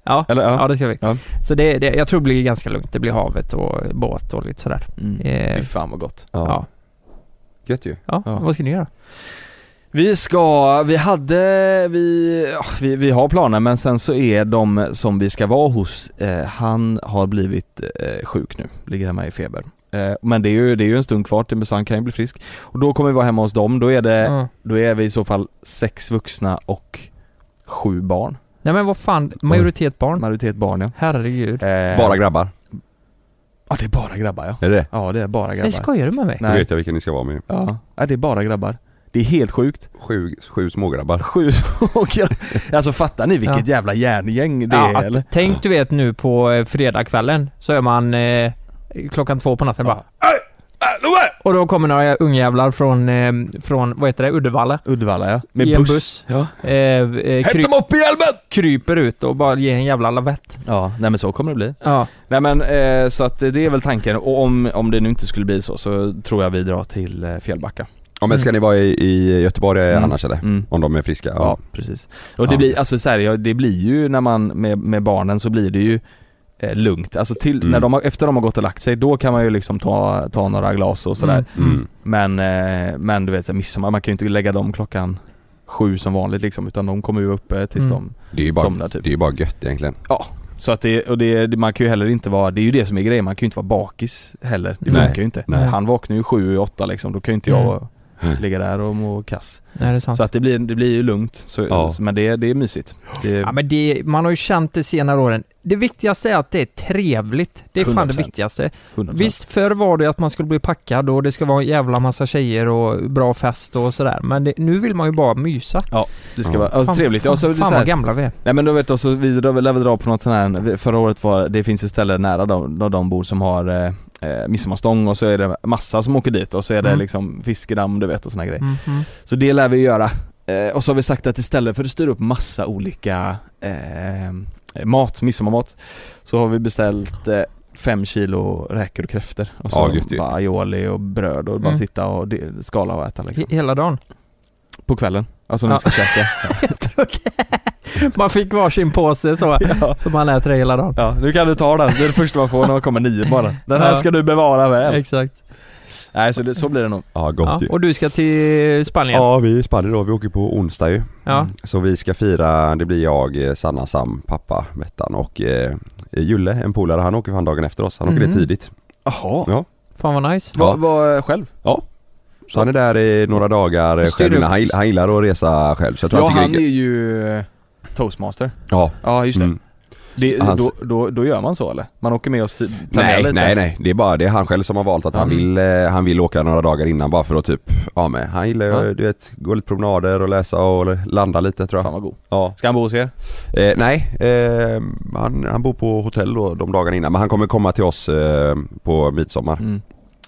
D: Ja,
C: Eller ja.
D: ja det ska vi.
C: Ja.
D: Så det, det, jag tror det blir ganska lugnt. Det blir havet och båt och lite sådär.
C: Mm.
D: Eh,
C: Fy fan vad gott.
B: Ja.
D: Ja.
B: Gött ju.
D: Ja,
C: Ja.
D: vad ska ni göra?
C: Vi ska, vi hade, vi, ja, vi, vi har planer men sen så är de som vi ska vara hos, eh, han har blivit eh, sjuk nu, ligger hemma i feber. Eh, men det är, ju, det är ju en stund kvar till så han kan ju bli frisk. Och då kommer vi vara hemma hos dem, då är det,
D: Ja.
C: då är vi i så fall sex vuxna och sju barn.
D: Nej men vad fan, majoritet barn.
C: Majoritet barn ja.
D: Herregud.
C: Eh,
B: Bara grabbar.
C: Ja det är bara grabbar ja.
B: Är det det?
C: Ja det är bara grabbar.
D: Nej, skojar du med mig?
B: Då
C: Nej.
B: vet jag vilka ni ska vara med.
C: Ja. ja det är bara grabbar. Det är helt sjukt.
B: Sju, sju smågrabbar.
C: Sju *laughs* åker. Alltså fattar ni vilket jävla järngäng det
D: Ja,
C: är eller?
D: att, tänk du vet nu på eh, fredagskvällen så är man eh, klockan två på natten bara Och då kommer några ungjävlar från, eh, från vad heter det, Uddevalla.
C: Uddevalla ja.
D: I en buss.
C: Ja.
D: Eh, eh,
C: Hämta
D: kryp,
C: dem upp i hjälmen!
D: kryper ut och bara ger en jävla lavett.
C: Ja, nej men så kommer det bli.
D: Ja.
C: Nej men eh, så att det är väl tanken och om, om det nu inte skulle bli så så tror jag vi drar till eh, Fjällbacka.
B: Ja men ska ni vara i, i Göteborg
C: Mm.
B: annars eller?
C: Mm.
B: Om de är friska? Ja.
C: Ja, precis. Och det
B: Ja.
C: blir, alltså så här, ja, det blir ju när man, med, med barnen så blir det ju eh, lugnt. Alltså till,
B: Mm.
C: när de har, efter de har gått och lagt sig, då kan man ju liksom ta, ta några glas och sådär.
B: Mm.
C: Men, eh, men du vet så här, midsommar, man kan ju inte lägga dem klockan sju som vanligt liksom, utan de kommer ju uppe tills
D: Mm.
C: de
B: Det är ju bara,
C: somnar typ.
B: det är ju bara gött egentligen.
C: Så att det, och det, det- man kan ju heller inte vara, det är ju det som är grejen, man kan ju inte vara bakis heller. Det
B: Nej.
C: funkar ju inte.
D: Nej.
C: Han vaknar ju sju, åtta liksom, då kan ju inte jag
B: Mm.
C: ligga där och må kass.
D: Nej, det är sant.
C: Så att det blir, det blir ju lugnt, så,
B: Ja.
C: men det, det är mysigt. Det,
D: Ja men det, man har ju känt det senare åren. Det viktigaste är att det är trevligt. Det är fan det
C: 100%.
D: viktigaste.
C: 100%.
D: Visst, förr var det att man skulle bli packad och det ska vara en jävla massa tjejer och bra fest och sådär. Men det, nu vill man ju bara mysa.
C: Det ska
B: Ja.
C: vara alltså, trevligt.
D: Fan,
C: och så, är det
D: fan
C: så här,
D: vad gamla vi är.
C: nej men då vet du, och så vi drar- lär vi dra på något sånt här, förra året var, det finns ett ställe nära de, där de bor som har eh, eh, midsommarstång och så är det massa som åker dit och så är det
D: Mm.
C: liksom fiskedamm du vet och såna grejer.
D: Mm, mm.
C: Så det lär vi göra. Eh, och så har vi sagt att istället för att styra upp massa olika eh, mat, midsommarmat, så har vi beställt eh, fem kilo räkor och kräftor och så
B: Ja, gött ju.
C: bara aioli och bröd och bara
D: Mm.
C: sitta och de- skala och äta liksom.
D: He- Hela dagen. *laughs*
C: på kvällen. Alltså när
D: Ja.
C: ni ska
D: *laughs*
C: käka.
D: Man fick varsin påse så,
C: ja.
D: som man äter hela dagen.
C: ja, nu kan du ta den. Det är det första man får när man kommer nio bara. Den här
D: Ja.
C: ska du bevara väl.
D: Exakt.
C: Nej, så, det, så blir det nog.
B: Ja, gott
D: Ja,
B: ju.
D: och du ska till Spanien?
B: Ja, vi är i Spanien då. Vi åker på onsdag ju.
D: Ja.
B: Mm. Så vi ska fira, det blir jag, eh, Sanna, Sam, pappa, Mettan och eh, Julle, en polare. Han åker fan dagen efter oss. Han åker
C: Mm.
D: Mhm.
B: dit tidigt.
C: Jaha.
B: Ja.
D: Fan vad nice.
C: Var, var eh, själv?
B: Så han är där i några dagar eh,
D: Styr
B: själv
D: upp.
B: innan. Han, gill- han gillar att resa själv. Så jag tror
C: Ja,
B: han
C: han är
B: tycker
C: ju eh, toastmaster.
B: Ja.
C: Ja, just det.
B: Mm.
C: det
B: Hans-
C: då, då, då gör man så eller? Man åker med oss till planerar
B: Nej,
C: lite.
B: nej, nej. Det är bara det är han själv som har valt att han,
C: Mm.
B: vill, eh, han vill åka några dagar innan bara för att typ, ja men han gillar ju,
C: Ja.
B: du vet, gå lite promenader och läsa och landa lite tror
C: Fan
B: jag.
C: vad god.
B: Ja.
C: Ska han bo hos er?
B: Eh, nej, eh, han, han bor på hotell då de dagarna innan men han kommer komma till oss eh, på midsommar.
C: Mm.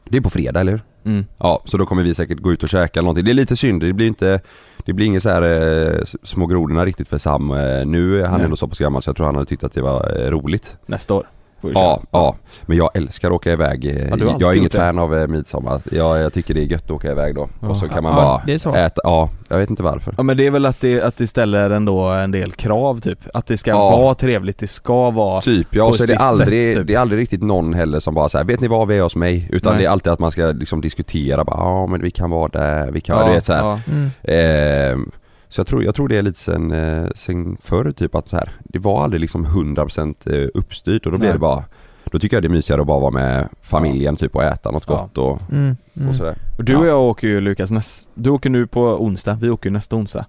B: Det är på fredag eller hur?
C: Mm.
B: Ja, så då kommer vi säkert gå ut och käka eller någonting. Det är lite synd, det blir inte Det blir inget så här eh, s- små grodorna riktigt för Sam eh, nu. är Han
C: Nej.
B: är ändå så pass gammal så jag tror han hade tyckt att det var eh, roligt.
C: Nästa år. Får vi
B: Ja,
C: köra.
B: ja. Men jag älskar att åka iväg. eh,
C: Ja, du har
B: jag
C: alltid
B: är
C: gjort
B: inget
C: det.
B: fan av eh, midsommar. Jag, jag tycker det är gött att åka iväg då.
C: Ja.
B: Och så kan man
D: Ja,
B: bara
D: det är så.
B: äta. Ja, jag vet inte varför.
C: Ja men det är väl att det, att det ställer ändå en del krav typ. Att det ska
B: Ja.
C: vara trevligt, det ska vara...
B: Typ, ja
C: På
B: och så är det
C: ett visst
B: aldrig,
C: sätt, typ.
B: det är aldrig riktigt någon heller som bara säger vet ni vad vi är hos mig? Utan
C: Nej.
B: det är alltid att man ska liksom diskutera bara, ja men vi kan vara där, vi kan, du vet så här.
C: ja.
D: Mm.
B: Ehm, så jag tror, jag tror det är lite sen, eh, sen förr typ att så här, det var aldrig liksom 100% eh, uppstyrt och då blev
C: Nej.
B: det bara Då tycker jag det är mysigare att bara vara med familjen typ och äta något
C: Ja.
B: gott och,
D: Mm. Mm.
B: och sådär.
C: Och du och jag åker ju Lukas näst... Du åker nu på onsdag, vi åker ju nästa onsdag.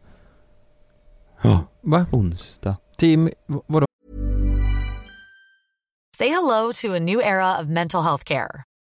D: Va?
C: Onsdag.
D: Team, vadå?
E: Say hello to a new era of mental health care.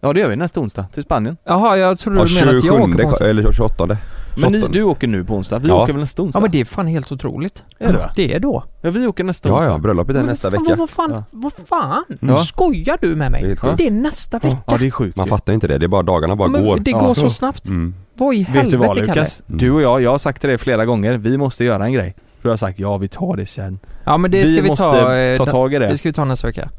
C: Ja det gör vi nästa onsdag, till Spanien.
D: Jaha, jag trodde
B: Ja,
D: du menade att jag åker
B: 27
D: på en sån-
B: eller 28
C: Men ni,
B: 28.
C: du åker nu på onsdag, vi
B: Ja.
C: åker väl nästa onsdag?
D: Ja men det är fan helt otroligt.
C: Är det va?
D: Det är då.
C: Ja vi åker nästa
B: Ja
C: onsdag.
B: ja, bröllopet är
D: Men
B: nästa
D: vad fan,
B: vecka.
D: Vad fan,
C: Ja.
D: vad fan?
C: Ja.
D: Skojar du med mig?
B: Det är helt sjukt.
D: Det är nästa vecka.
C: Ja det är sjukt
B: Man
C: ju.
B: fattar inte det, det är bara dagarna bara
D: Men
B: går.
D: Det
C: Ja.
D: går så snabbt.
B: Mm.
D: Vad i helvete
C: Vet du vad
D: Kalle?
C: Lukas?
B: Mm.
C: Du och jag, jag har sagt till dig flera gånger, vi måste göra en grej. Du har sagt ja vi tar det sen.
D: Ja men det ska vi,
C: måste
D: ta, eh,
C: ta
D: den-
C: tag i
D: det
C: det.
D: ska vi ta nästa vecka.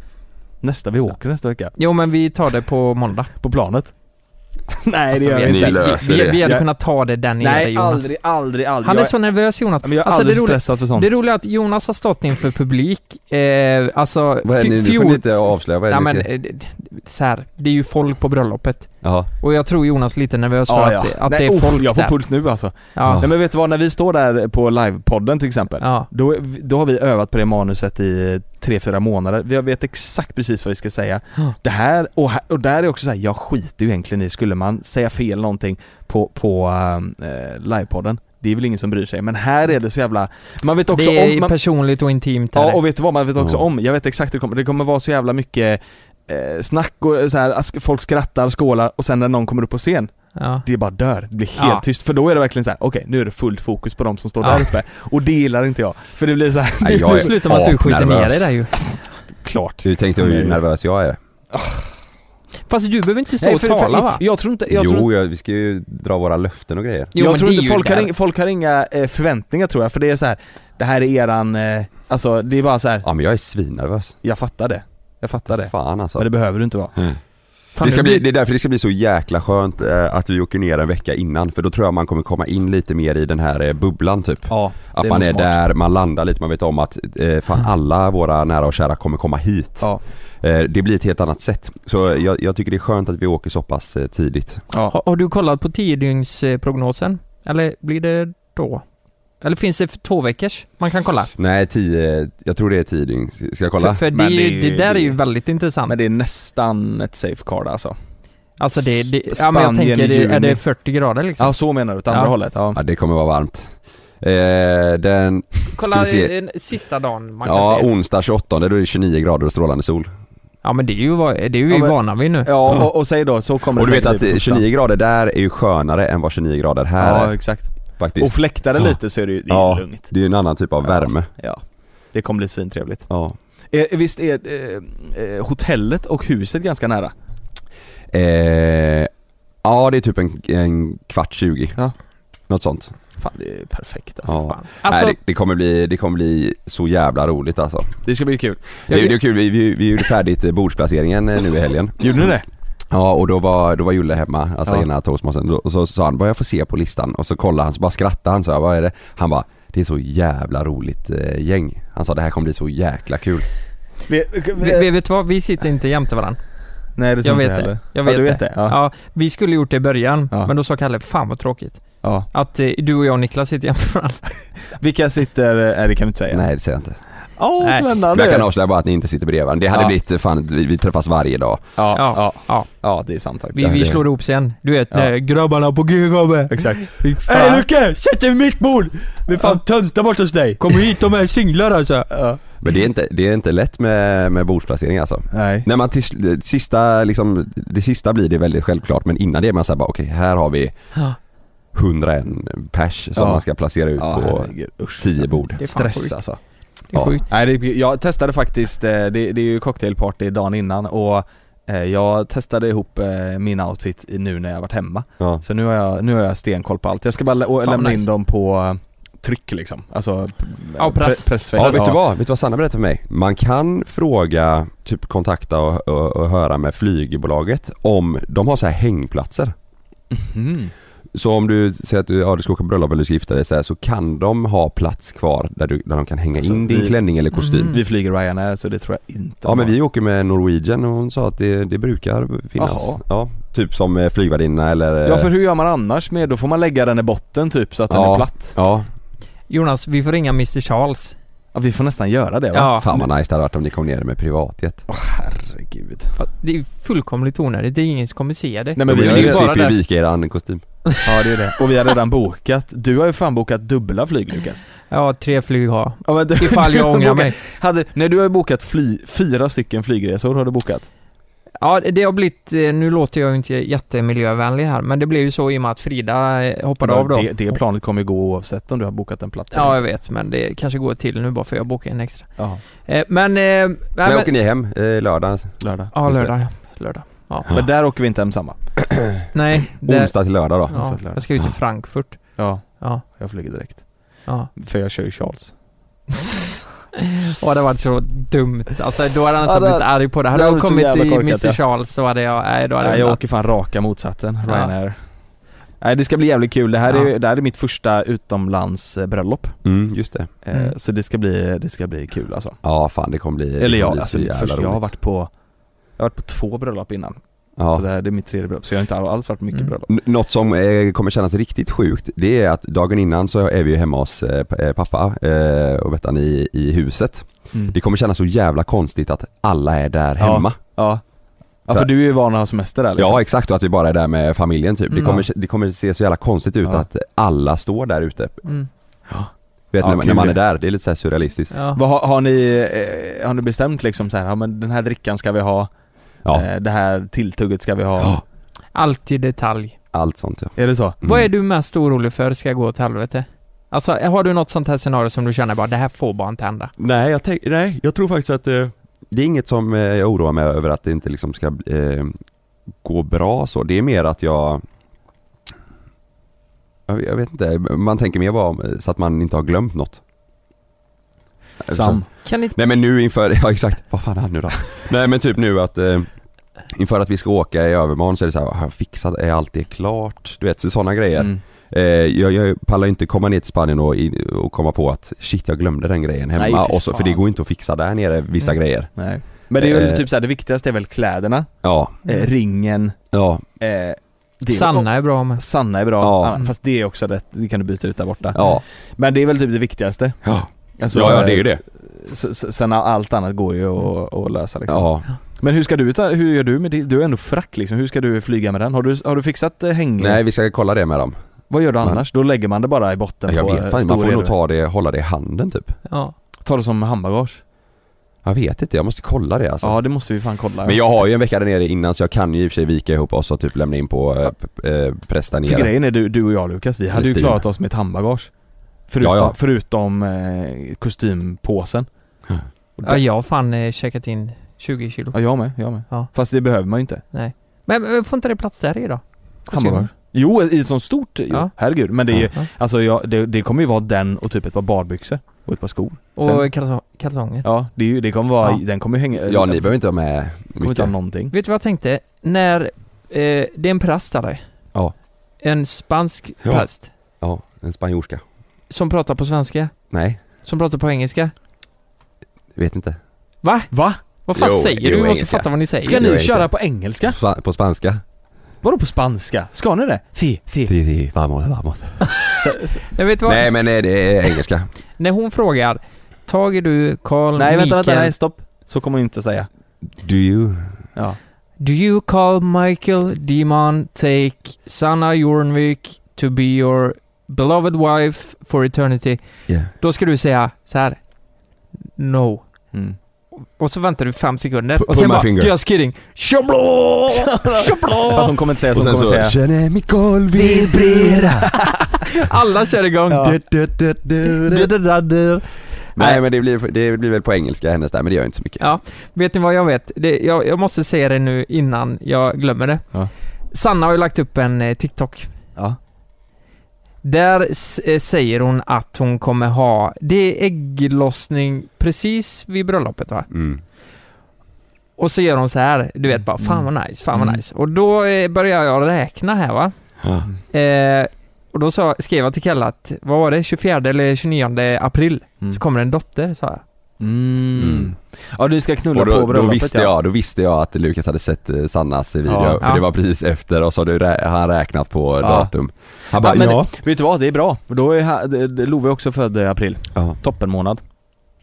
C: Nästa, vi åker nästa vecka.
D: Jo men vi tar det på måndag.
C: På planet. *laughs* Nej
D: Alltså,
C: det gör
D: vi-
C: vi
B: Ni
C: inte.
B: löser
D: vi, vi, vi hade
C: Jag-
D: kunnat ta det där nere
C: Nej
D: Jonas.
C: aldrig, aldrig, aldrig.
D: Han är
C: Jag-
D: så nervös Jonas.
C: Men jag är
D: Alltså, det
C: aldrig
D: roliga-
C: stressad för sånt.
D: Det roliga är att Jonas har stått inför publik, eh, alltså
B: Vad är
D: fj-
B: det, ni- nu får
D: fjol-
B: ni inte avslöja, vad är
D: Ja
B: det
D: men,
B: ni
D: eh,
B: ska-
D: det- det- så här, det är ju folk på bröllopet.
B: Jaha.
D: Och jag tror Jonas är lite nervös för
C: Ja, ja.
D: att, det- att
C: Nej,
D: det är
C: uff,
D: folk
C: Jag får
D: där.
C: puls nu alltså.
D: Ja.
C: Nej men vet du vad, när vi står där på livepodden till exempel.
D: Ja.
C: Då, är vi- då har vi övat på det manuset i 3-4 månader. Vi vet exakt precis vad vi ska säga.
D: Ja.
C: Det här, och, här, och där är också så här, jag skiter ju egentligen i, skulle man säga fel någonting på, på ehm, eh, livepodden. Det är väl ingen som bryr sig, men här är det så jävla... Man vet också
D: Det är
C: om... Man,
D: personligt och intimt. här.
C: ja och vet du vad, man vet också
B: Ja.
C: om. Jag vet exakt hur det kommer, det kommer vara så jävla mycket eh, snack och så här, ask- folk skrattar, skålar och sen när någon kommer upp på scen
D: ja.
C: det bara dör, det blir helt
D: Ja.
C: tyst. För då är det verkligen så här: okej nu är det fullt fokus på de som står
D: Ja.
C: där uppe. Och det gillar inte jag. För det blir så här,
B: Nej, jag
D: nu
B: är
D: slutar med att du skiter ner
B: apnervös.
D: dig där ju.
C: klart.
B: Du tänkte hur nervös jag är?
D: Fast du behöver inte stå och tala va?
C: Jag tror inte, jag tror
B: Jo, jag, vi ska ju dra våra löften och grejer.
D: Jo, men
C: jag tror
D: det är
C: inte
D: ju
C: folk har,
D: där.
C: inga, folk har inga eh, förväntningar tror jag, för det är så här. det här är eran, eh, alltså det är bara så här.
B: Ja men jag är svinnervös.
C: jag fattar det. Jag fattar det.
B: Fan alltså.
C: Men det behöver du inte vara.
D: Fan,
B: det, ska
D: nu
B: bli, det är därför det ska bli så jäkla skönt eh, att vi åker ner en vecka innan för då tror jag man kommer komma in lite mer i den här eh, bubblan typ.
C: Ja,
B: att
C: det
B: man
C: nog
B: är
C: smart. Mm.
B: där, man landar lite, man vet om att eh, fan alla våra nära och kära kommer komma hit.
C: Ja.
B: Eh, det blir ett helt annat sätt. Så jag, jag tycker det är skönt att vi åker så pass eh, tidigt.
C: Ja.
D: Har, har du kollat på tiodygnsprognosen? Eller blir det då? Eller finns det för två veckors? Man kan kolla.
B: Nej, 10, jag tror det är 10 dygn. Ska jag kolla?
D: För, för det,
C: Men
D: är ju,
C: det är
D: det
C: ju-
D: där är ju
C: det-
D: väldigt intressant.
C: Men det är nästan ett safe card alltså.
D: alltså det, det ja
C: Spanien
D: men jag tänker,
C: i
D: det, är
C: juni.
D: det 40 grader liksom?
C: Ja så menar du, åt andra
D: Ja.
C: hållet? Ja.
B: Ja, det kommer vara varmt. Eh, den,
D: Kolla
B: Ska vi se.
D: den sista dagen man kan
B: ja,
D: se.
B: onsdag 28, då är det 29 grader och strålande sol.
D: Ja men det är ju, vad- det är ju
C: Ja, men-
D: vana vid nu.
C: Ja och, och säg då, så kommer
B: Och du
C: det
B: vet
C: säkert
B: att
C: bli på
B: eh,
C: torsdag.
B: 29 grader där är ju skönare än vad 29 grader här
C: Ja
B: är
C: exakt. Och
B: faktiskt.
C: fläktar det lite så är det ju det är
B: Ja.
C: lugnt.
B: Det är ju en annan typ av
C: Ja.
B: värme.
C: Ja. Det kommer bli svintrevligt.
B: Ja.
C: Eh, visst är eh, eh, hotellet och huset ganska nära?
B: Eh, ja, det är typ en, en kvart 20.
C: Ja.
B: Något sånt.
C: Fan det är perfekt alltså.
B: Ja.
C: Fan.
D: Alltså,
B: Nej, det, det, kommer bli, det kommer bli så jävla roligt alltså.
C: Det ska bli kul.
B: Det, det är kul, vi, vi, vi gjorde färdigt eh, bordsplaceringen eh, nu i helgen.
C: Gjorde ni det?
B: Ja och då var, då var Julle hemma, alltså
C: Ja.
B: ena toastmastern, Då- och så sa han vad jag får se på listan och så kollade han, så bara skrattade han så jag, vad är det? Han bara det är så jävla roligt eh, gäng. Han sa det här kommer bli så jäkla kul.
D: vi, vi- vet du vad? Vi sitter inte jämte varandra.
C: Nej det tror
D: Jag
C: inte
D: vet
C: jag heller.
D: det. Jag vet,
C: ja, du vet
D: det.
C: det? Ja.
D: Ja, vi skulle gjort det i början,
C: Ja.
D: men då sa Kalle, fan vad tråkigt.
C: Ja.
D: Att eh, du och jag och Niklas sitter jämte varandra.
C: Vilka sitter, nej det kan du inte säga.
B: Nej det säger jag inte.
C: Åh
D: Nej.
B: Men
C: spännande!
B: jag kan avslöja bara att ni inte sitter bredvid varandra. Det hade
C: Ja.
B: blivit eh, fan, vi, vi träffas varje dag.
C: ja,
D: Ja.
C: ja.
D: Ja,
C: ja det är sant faktiskt.
D: vi,
B: Ja,
D: vi
B: det-
D: slår ihop sen. Du vet,
C: Ja.
D: när grabbarna på G gubbe.
C: Exakt.
D: Fy fan.
C: Hej Lucke! Sätt dig vid mitt bord! Vi är fan töntar bort hos dig!
D: Kom hit, de är singlar alltså.
C: Ja.
B: Men det är inte, det är inte lätt med, med bordsplacering alltså.
C: Nej.
B: När man till, sl- sista, liksom, det sista blir det väldigt självklart men innan det är man såhär bara okej här har vi
D: Ja.
B: 101 pers som
C: Ja.
B: man ska placera ut
C: Ja
B: på
C: herregud, usch.
B: 10 bord.
D: Det är fan
C: Stress
D: sjukt.
C: alltså.
D: Det är
B: Ja.
D: sjukt.
C: Nej, det, jag testade faktiskt, eh, det, det är ju cocktailparty dagen innan och eh, jag testade ihop eh, min outfit i- nu när jag varit hemma.
B: Ja.
C: Så nu har jag, nu har jag stenkoll på allt. Jag ska bara lä- och
D: Fan,
C: lämna in
D: nice.
C: dem på eh, tryck liksom. Alltså p-
D: Ja, press.
C: pressfält.
B: Ja, vet du vad? Vet du vad Sanna berättade för mig? Man kan fråga, typ kontakta och, och, och höra med flygbolaget om de har så här hängplatser.
C: Mhm.
B: Så om du säger att du, ja, du ska åka på bröllop eller du ska gifta dig så, här, så kan de ha plats kvar där, du, där de kan hänga
C: Alltså,
B: in din
C: vi-
B: klänning eller kostym.
D: Mm.
C: Vi flyger Ryanair så det tror jag inte
B: Ja
C: de
B: men
C: har.
B: vi åker med Norwegian och hon sa att det, det brukar finnas.
C: Jaha.
B: Ja, typ som eh, flygvärdinna eller...
C: Ja för hur gör man annars med, då får man lägga den i botten typ så att den
B: Ja.
C: är platt.
B: ja.
D: Jonas, vi får ringa Mr Charles.
C: Ja, vi får nästan göra det va?
D: Ja.
B: Fan vad nice det hade varit om ni kom ner med privatjet.
C: Åh herregud.
D: Det är fullkomligt onödigt, det är ingen som kommer se det.
C: Nej
B: Men
C: men vi
D: är
C: har
D: ju
B: ni
C: ju
D: bara
B: slipper ju typ
D: där-
B: vika er kostym.
C: Ja det är det. Och vi har redan bokat, du har ju fan bokat dubbla flyg Lukas.
D: Ja, tre flyg har
C: Ja, men du,
D: Ifall
C: du
D: jag
C: har
D: ångrar
C: bokat- *laughs*
D: mig.
C: Hade, nej du har ju bokat fly, fyra stycken flygresor har du bokat.
D: Ja, det har blivit, eh, nu låter jag ju inte jättemiljövänlig här, men det blev ju så i och med att Frida eh, hoppade av då.
C: Det, det planet kommer ju gå oavsett om du har bokat en platt.
D: Ja, jag vet, men det kanske går till nu bara för jag bokar en extra.
C: ja.
D: Eh, men... Eh, nej,
B: Men,
D: men
B: åker ni hem eh, lördag?
C: Lördag.
D: ja, lördag. ja. Lördag. Ja.
C: Men där åker vi inte ensamma.
D: Nej, det,
B: Onsdag till lördag då?
D: ja, jag ska ju till Frankfurt.
C: Ja,
D: Ja,
C: jag flyger direkt.
D: ja.
C: För jag kör ju Charles.
D: Åh, det var så dumt. Alltså, då hade han
C: Ja,
D: inte
C: det-
D: blivit arg på det. Hade
C: det
D: jag
C: hade varit så
D: kommit
C: jävla
D: i
C: korkat,
D: Mr
C: ja.
D: Charles så hade jag... Nej, då hade
C: Nej, jag
D: jag...
C: åker fan raka motsatsen,
D: Ja.
C: Ryanair. Nej det ska bli jävligt kul, det här,
D: Ja.
C: är, det här är mitt första utomlandsbröllop.
B: Mm, just det.
C: Eh,
D: Mm.
C: Så det ska, bli, det ska bli kul alltså.
B: Ja fan det kommer bli det
C: Eller
B: kommer
C: jag,
B: bli
C: alltså,
B: så jävla
C: först, jag har
B: roligt.
C: varit på jag har varit på två bröllop innan, så
B: ja.
C: det här det är mitt tredje bröllop. Så jag har inte alls varit på mycket
D: Mm.
C: bröllop.
B: N- Något som eh, kommer kännas riktigt sjukt, det är att dagen innan så är vi ju hemma hos eh, p- eh, pappa eh, och Bettan i, i huset.
D: Mm.
B: Det kommer kännas så jävla konstigt att alla är där
C: Ja.
B: hemma.
C: Ja. ja, för du är ju van att ha semester där liksom.
B: Ja exakt och att vi bara är där med familjen typ. Det
D: Mm.
B: kommer, det kommer se så jävla konstigt ut
C: Ja.
B: att alla står där ute.
D: Mm,
B: Du vet
C: Ja,
B: när,
C: kul
B: när man
C: det.
B: är där, det är lite så här surrealistiskt.
D: ja.
C: Vad har, har, ni, eh, har ni bestämt liksom så här, ja men den här drickan ska vi ha,
B: Ja,
C: eh, det här tilltugget ska vi ha?
B: Ja.
D: Alltid detalj.
B: allt sånt ja.
C: Är det så?
B: Mm.
D: Vad är du mest orolig för ska gå åt helvete? Alltså, har du något sånt här scenario som du känner bara, det här får bara inte hända?
B: Nej jag, tänk, nej, jag tror faktiskt att eh, det är inget som eh, jag oroar mig över att det inte liksom ska eh, gå bra så. Det är mer att jag jag jag vet inte, man tänker mer bara om, eh, så att man inte har glömt något. Alltså,
C: Sam?
D: Kan inte...
B: Nej men nu inför, *laughs* ja exakt, vad fan är han nu då? Nej men typ nu att eh, Inför att vi ska åka i övermorgon så är det så här, har jag fixat, är allt det klart? Du vet sådana grejer.
C: Mm.
B: Eh, jag, jag pallar ju inte komma ner till Spanien och, in- och komma på att shit jag glömde den grejen hemma
C: Nej, fy
B: och så, för
C: fan.
B: det går inte att fixa där nere vissa
D: Mm.
B: grejer.
C: Nej. Men det är väl
B: Eh. Mm.
C: typ så här, det viktigaste är väl kläderna,
B: Ja,
C: eh, ringen,
B: ja,
C: eh, Det-
D: Sanna är bra med.
C: Sanna är bra,
B: Ja.
C: Anna- fast det är också rätt, det kan du byta ut där borta.
B: Ja,
C: Men det är väl typ det viktigaste.
B: ja,
C: Alltså,
B: ja, ja det är ju det.
C: s- s- Sen allt annat går ju att, att lösa liksom.
B: Ja.
C: Men hur ska du ta, hur gör du med det? Du är ändå frack liksom, hur ska du flyga med den? Har du, har du fixat eh, hänge?
B: Nej vi ska kolla det med dem.
C: Vad gör du
B: Nej.
C: annars? Då lägger man det bara i botten
B: Jag
C: på eh,
B: vet fan, man
C: stor
B: får nog
C: elre-
B: ta det, hålla det i handen typ.
D: Ja.
C: ta det som
B: Alltså.
C: handbagage.
B: Jag vet inte, jag måste kolla det alltså.
C: Ja det måste vi fan kolla.
B: Men jag har ju en vecka där nere innan så jag kan ju i och för sig vika ihop oss och typ lämna in på eh, p- eh, prästa
C: För
B: nere.
C: grejen är du, du och jag Lukas, vi hade ju
B: Stil.
C: klarat oss med ett handbagage. Förutom,
B: Ja, ja.
C: förutom eh, kostympåsen.
D: ja, jag har fan eh, checkat in 20 kilo.
C: Ja jag med, jag med.
D: Ja.
C: Fast det behöver man ju inte.
D: Men, men eh, får inte det plats där i då?
C: Hammarberg. Jo, i sånt stort, jo.
D: Ja.
C: herregud. Men det är ju,
D: Ja.
C: alltså jag, det, det kommer ju vara den och typ ett par badbyxor och ett par skor.
D: Och kalso- kalsonger.
C: Ja, det, är ju, det kommer vara,
D: Ja.
C: den kommer ju hänga,
B: Ja ni behöver inte ha med
C: kommer inte ha
B: mycket.
C: någonting.
D: Vet du vad jag tänkte? När, eh, det är en präst där.
B: Ja.
D: En spansk
B: Ja.
D: präst.
B: Ja, en spanjorska.
D: Som pratar på svenska.
B: Nej,
D: Som pratar på engelska.
B: vet inte.
C: Va?
D: Vad fan
B: Jo,
D: säger
B: jo,
D: du? Du måste
B: engelska.
D: fatta vad ni säger.
C: Ska
B: det är
C: ni
B: inte.
C: köra på engelska?
B: Spa- På spanska.
C: Vadå på spanska? Ska ni
D: Mm.
C: det? Fi, fi.
B: Ti, ti, vamos, vamos.
D: Jag vet vad?
B: Nej men nej, det är engelska.
D: När hon frågar Tager du Carl
C: Nej vänta, vänta,
D: Michael?
C: nej stopp. Så kommer hon inte säga.
B: Do you?
C: Ja.
D: Do you call Michael Demon take Sanna Jornvik to be your beloved wife for eternity?
B: Yeah.
D: Då ska du säga så här. No.
C: Mm.
D: Och så väntar du fem sekunder
B: Pu-
D: och sen
B: pull my
D: bara
B: finger.
D: Just kidding. Chablå! Chablå!
C: Fast hon kommer inte säga, så
B: Och
C: hon
B: sen
C: kommer
B: så,
C: säga.
B: känner mitt golv vibrera.
D: Alla kör igång.
C: Ja.
D: Du, du, du, du, du, du, du, du.
B: Nej men det blir, det blir väl på engelska hennes där, men det gör inte så mycket.
D: Ja. Vet ni vad jag vet? Det, jag, jag måste säga det nu innan jag glömmer det.
C: Ja.
D: Sanna har ju lagt upp en eh, TikTok.
C: Ja.
D: Där s- eh, säger hon att hon kommer ha, det är ägglossning precis vid bröllopet va?
B: Mm.
D: Och så gör hon så här, du vet bara fan vad nice, fan vad
C: Mm.
D: nice. Och då eh, börjar jag räkna här va. Eh, och då sa, skrev jag till Kalle att, vad var det, 24 eller 29 april?
C: Mm.
D: Så kommer en dotter sa jag.
C: Mm.
B: Mm.
C: Ja du ska knulla
B: Och
C: på
B: då, då
C: bröllopet
B: visste jag, då visste jag att Lukas hade sett eh, Sannas video,
C: Ja.
B: för
D: Ja.
B: det var precis efter och så hade rä- han räknat på
C: Ja.
B: datum. Han
C: Ja,
B: bara,
C: men
B: ja.
C: Vet du vad, det är bra. För Då är ha- det- det- Love är också född i april.
B: Ja.
C: Toppenmånad.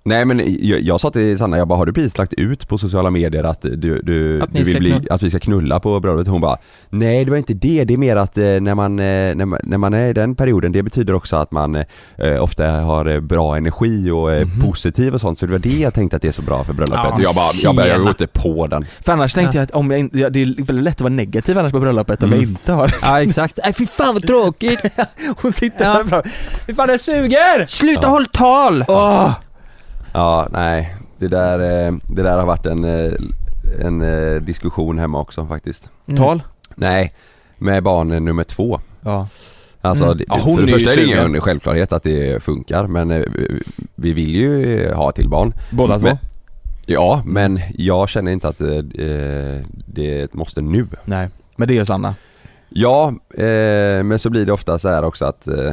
B: Nej men jag, jag sa till Sanna, jag bara har du precis lagt ut på sociala medier att du, du,
D: Att ni
B: du vill
D: ska
B: bli,
D: knulla?"
B: att vi ska knulla på bröllopet? Hon bara Nej det var inte det, det är mer att eh, när man, eh, när man, när man är i den perioden, det betyder också att man eh, ofta har eh, bra energi och är
C: Mhm.
B: positiv och sånt, så det var det jag tänkte att det är så bra för bröllopet.
D: Ja,
B: och jag bara, jag, bara, jag
D: tjena.
B: går inte på den.
C: För annars tänkte
D: Ja.
C: jag att om jag in, ja, det är väldigt lätt att vara negativ annars på bröllopet om
B: Mm.
C: jag inte har
D: *laughs*
C: *laughs*
D: Ja exakt. Nej fy fan vad *laughs* tråkigt!
C: Hon sitter
D: Ja.
C: där framme. Fy fan det suger!
D: Sluta
B: Ja.
D: håll tal!
C: Åh!
B: Ja, nej. Det där, eh, det där har varit en, eh, en eh, diskussion hemma också faktiskt.
D: Mm.
C: Tal?
B: Nej, med barn nummer två.
C: Ja.
B: Alltså,
D: Mm.
B: det,
C: Ja, hon
B: för det
C: är ju
B: första är det
C: sugen.
B: ingen självklarhet att det funkar men eh, vi- vi vill ju eh, ha till barn.
C: Båda två?
B: Men- Ja,
C: Mm.
B: men jag känner inte att eh, eh, det måste nu.
C: Nej. Men det är Sanna.
B: Ja, eh, men så blir det ofta så här också att eh,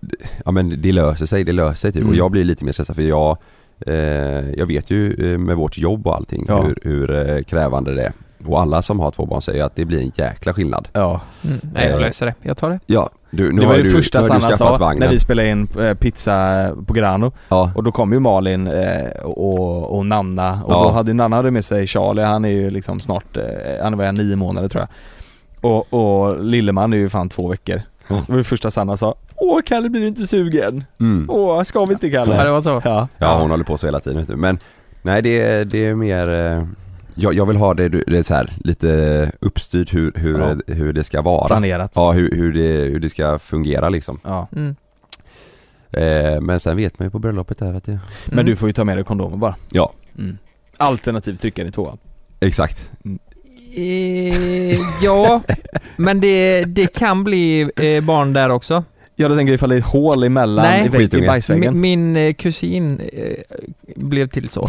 B: d- Ja men det löser sig, det löser sig typ.
C: Mm.
B: Och jag blir lite mer stressad för jag eh, Jag vet ju eh, med vårt jobb och allting
C: Ja.
B: hur, hur eh, krävande det är. Och alla som har två barn säger att det blir en jäkla skillnad.
C: Ja.
D: Mm. Nej jag
B: Eh.
D: löser det, jag tar det.
B: Ja, du, nu
C: Det var
B: har
C: ju
B: du,
C: första
B: nu har du
C: Sanna
B: skaffat
C: sa
B: vagnen.
C: när vi spelade in eh, pizza på Grano.
B: Ja,
C: Och då kom ju Malin eh, och, och Nanna och
B: Ja.
C: då hade Nanna hade med sig Charlie, han är ju liksom snart, eh, han var nio månader tror jag. Och, och Lilleman är ju fan två veckor.
B: Ja.
C: Det var det första Sanna sa. Åh Kalle blir du inte sugen?
B: mm.
C: Åh ska vi inte
D: Ja det
C: Kalle?
D: var så.
C: Ja.
B: ja hon håller på så hela tiden vet du. Men nej det, det är mer eh, jag, jag vill ha det, det är så här, lite uppstyrt hur, hur,
C: Ja.
B: hur det ska vara.
C: planerat.
B: Ja, hur, hur, det, hur det ska fungera liksom.
C: Ja.
D: Mm.
B: Eh, men sen vet man ju på bröllopet där att det...
C: Men
D: Mm.
C: du får ju ta med dig kondomer bara.
B: Ja,
C: Mm. Alternativt trycka i tvåan.
B: exakt.
D: Eh, ja, men det, det kan bli eh, barn där också.
C: Ja då tänker jag ifall det är ett hål emellan
D: Nej.
C: i, vägg, i
B: Skitunge.
C: bajsväggen.
D: Min, min eh, kusin eh, blev till så.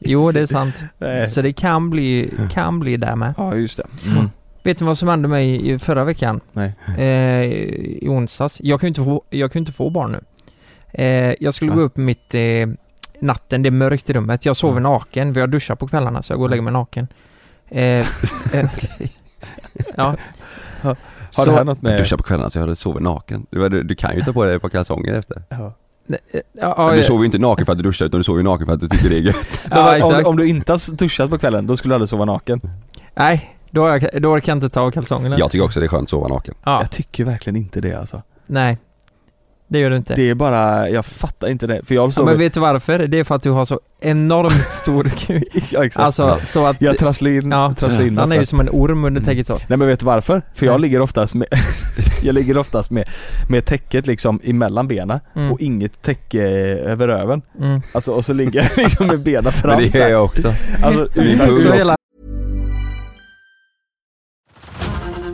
D: jo, det är *laughs* sant.
C: Nej.
D: Så det kan bli, kan bli där med.
C: Ja just det. Mm.
D: Vet ni vad som hände mig i förra veckan?
C: Nej.
D: Eh, I onsdags. Jag kan ju inte få, jag kan ju inte få barn nu. Eh, jag skulle
C: Va?
D: gå upp mitt eh, natten, det är mörkt i rummet. Jag sover
C: Ja.
D: naken, för jag duschar på kvällarna så jag går och lägger mig naken. Eh, eh, Ja.
C: Har
D: Så-
C: det här något
B: Jag
C: med...
B: duschade på kvällarna så jag hade sovit naken. Du, du, du kan ju ta på dig ett par kalsonger efter.
D: Nej, eh, ja, ja,
B: du
D: ja,
B: sover ju inte naken för att du duschar utan du sover ju naken för att du tycker det är gött.
D: ja,
C: om,
D: exakt.
C: om du inte har duschat på kvällen, då skulle du aldrig sova naken.
D: Nej, då, har jag- då kan jag inte ta av kalsongerna.
B: Jag tycker också det är skönt att sova naken.
D: Ja,
C: Jag tycker verkligen inte det alltså.
D: nej. Det gör du inte.
C: Det är bara, jag fattar inte det. För jag har
D: ja, men
C: sovit...
D: vet du varför? Det är för att du har så enormt stor kuk.
C: *laughs* Ja, *laughs* exakt.
D: Alltså så att...
C: jag trasslar in,
D: Ja,
C: trasslar in
D: han är ju
C: oftast.
D: som en orm under täcket så.
C: Nej men vet du varför? För jag
D: Nej.
C: ligger oftast med, *laughs* jag ligger oftast med, med täcket liksom emellan benen
D: Mm,
C: och inget täcke över röven.
D: mm.
C: Alltså och så ligger jag *laughs* liksom med benen fram
B: Men det
C: så
B: gör
C: här.
B: jag också.
C: Alltså,
B: Min
C: utan-
B: pung
D: Så hela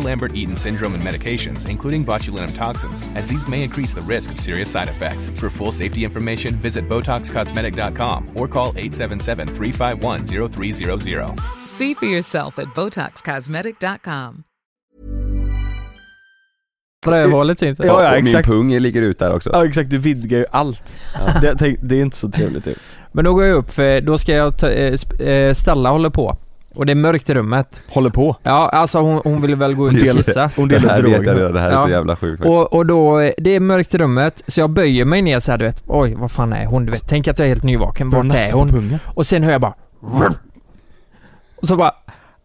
F: Lambert-Eaton syndrome and medications, including botulinum toxins, as these may increase the risk of serious side effects. For full safety information, visit BotoxCosmetic.com or call 877-351-0300.
G: See for yourself at BotoxCosmetic.com.
D: rövhålet syns.
C: Ja, ja,
B: Och
C: exakt.
B: Min pung ligger ut där också.
C: Ja exakt, du vidgar ju allt. Det, tänk, det är inte så trevligt typ. ut.
D: Men då går jag upp för då ska jag ta, eh, sp- eh, Stella håller på. Och det är mörkt i rummet.
C: Håller på.
D: Ja, alltså hon, hon vill väl gå ut och
B: Just
D: kissa.
C: Hon
B: Det
C: delar
B: här vet jag
C: droger.
B: redan, det här är
D: Ja.
B: så jävla sjukt.
D: Och, och då, eh, det är mörkt i rummet, så jag böjer mig ner så här, du vet. Oj, vad fan är hon? Du vet, tänk att jag är helt nyvaken.
C: Bra
D: Vart är
C: nafsa på
D: hon?
C: pungen.
D: Och sen hör jag bara... Och så bara...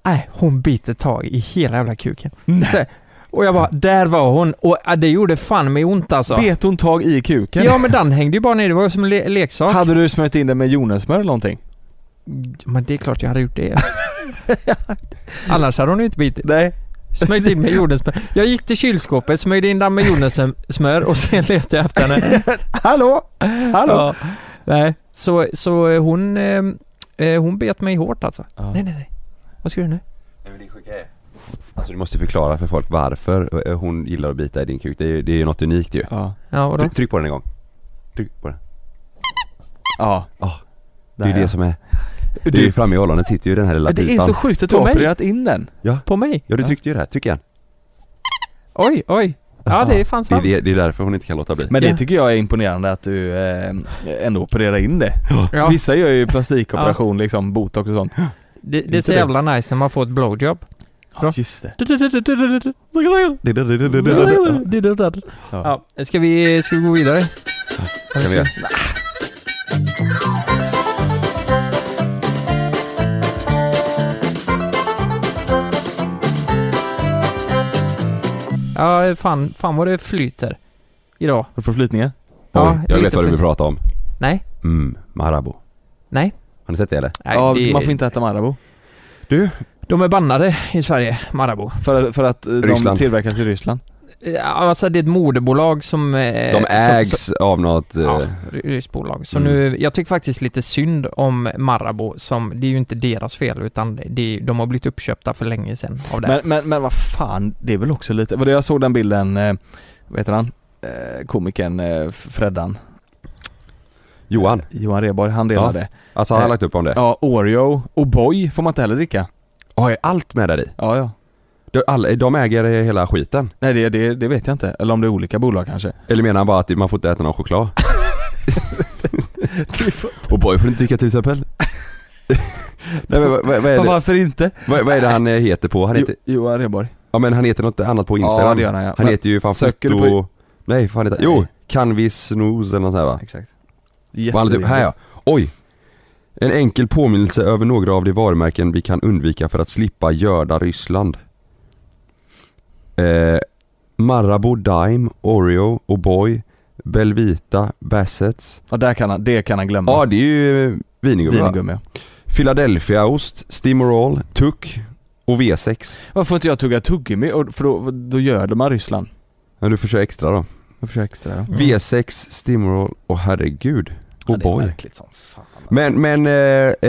D: Nej, hon biter tag i hela jävla kuken. Så- Och jag bara, där var hon. Och ah, det gjorde fan mig ont alltså.
C: Bet hon tag i kuken?
D: Ja men den hängde ju bara ner, det var ju som en le- leksak.
C: Hade du smörjt in den med jordnötssmör eller någonting?
D: Men det är klart jag hade gjort det. *laughs* Annars hade hon ju inte bitit.
C: Nej.
D: Smöjde in med jordnötssmör. Jag gick till kylskåpet, smöjde in den med jordnötssmör och sen letade jag efter *laughs* henne.
C: Hallå? Hallå?
D: Ja. Nej, så, så eh, hon, eh, eh, hon bet mig hårt alltså. Nej, nej, nej. Vad ska du nu?
B: Alltså du måste förklara för folk varför eh, hon gillar att bita i din kuk. Det är, det är ju något unikt ju.
C: Ja.
D: Ja, vadå?
B: Tryck, tryck på den en gång. Tryck på den.
C: Ja.
B: Ja. Det
C: Där,
B: är ju det
C: ja.
B: som är... Det är ju framme i ollonet sitter ju den här lilla
C: Det är
B: pipan.
C: så sjukt att du
D: På
C: har
D: mig?
C: opererat in den.
D: På mig?
B: Ja du tryckte ju där, tryck igen.
D: Oj, oj. Ja, det är fan
B: Det är,
D: sant.
B: det, det är därför hon inte kan låta bli.
C: Men
D: Ja.
C: det tycker jag är imponerande att du eh, ändå opererar in det.
D: Ja,
C: *laughs* Vissa gör ju plastikoperation liksom, botox och sånt.
D: det, det är
C: inte
D: så
C: det.
D: jävla nice när man får ett blowjob. Ja.
C: Just det.
D: Ja, ska vi, ska vi gå vidare?
B: Kan vi göra?
D: Ja, fan, fan vad det flyter idag.
C: Har du fått flytningar?
D: Ja,
B: Oj, jag
D: lite
B: vet vad du vill
D: flyt-
B: prata om.
D: Nej,
B: Mm, Marabou.
D: nej.
B: Har ni sett det eller?
D: nej
C: ja,
D: det,
C: man får inte äta Marabou.
D: De är bannade i Sverige, Marabou.
C: För, för att eh, de
B: Ryssland.
C: tillverkas i Ryssland.
D: Ja, Alltså det är ett moderbolag som... eh,
B: De ägs
D: som-
B: av något... eh,
D: Ja, ry- ryskt bolag. Så
B: Mm.
D: nu, jag tycker faktiskt lite synd om Marabou som, det är ju inte deras fel utan det, de har blivit uppköpta för länge sedan av det.
C: Men, men, men vad fan, det är väl också lite, vadå jag såg den bilden, eh, vad heter han? Eh, komikern eh, Freddan,
B: Johan.
C: Johan Rheborg, han delade.
B: Alltså han har
C: Eh,
B: lagt upp om det.
C: Ja, Oreo, O'boy får man inte heller dricka.
B: Har jag allt med där i?
C: Ja, ja.
B: De, all, de äger eh, hela skiten.
C: Nej det, det, det vet jag inte, eller om det är olika bolag kanske.
B: Eller menar han bara att man får inte äta någon
C: *laughs*
B: choklad? *laughs* Och boy får du inte dricka till exempel? Nej men vad, vad, vad, är
C: Men
B: det,
C: *laughs* varför inte?
B: vad, vad är det han eh, heter på? Han
C: Jo,
B: heter,
C: Johan Rheborg.
B: ja Ja men han heter något annat på
C: Ja,
B: Instagram.
C: det gör han, ja.
B: Han
C: Men
B: heter ju fan
C: söker du
B: foto...
C: på-
B: Nej, fan heter
C: Nej.
B: Jo! Kan vi snooze eller något här va?
C: Exakt.
B: Och han typ, här ja. Oj! En enkel påminnelse över några av de varumärken vi kan undvika för att slippa göda Ryssland. Eh, Marabou Dime, Oreo, O'boy, Belvita, Bassets.
C: Ja, där kan han, det kan han glömma.
B: Ja det är ju eh, vingummi va?
C: Vingummi.
B: Philadelphiaost, Stimorol, Tuck och V6.
C: Varför får inte jag tugga tuggummi? Och- För då, då gör de Ryssland.
B: Ja, du får köra extra då.
C: Jag försöker extra då.
B: V6, Stimorol och herregud.
C: Ja, det är
B: O'boy.
C: märkligt som fan.
B: Oh Men, men, eh,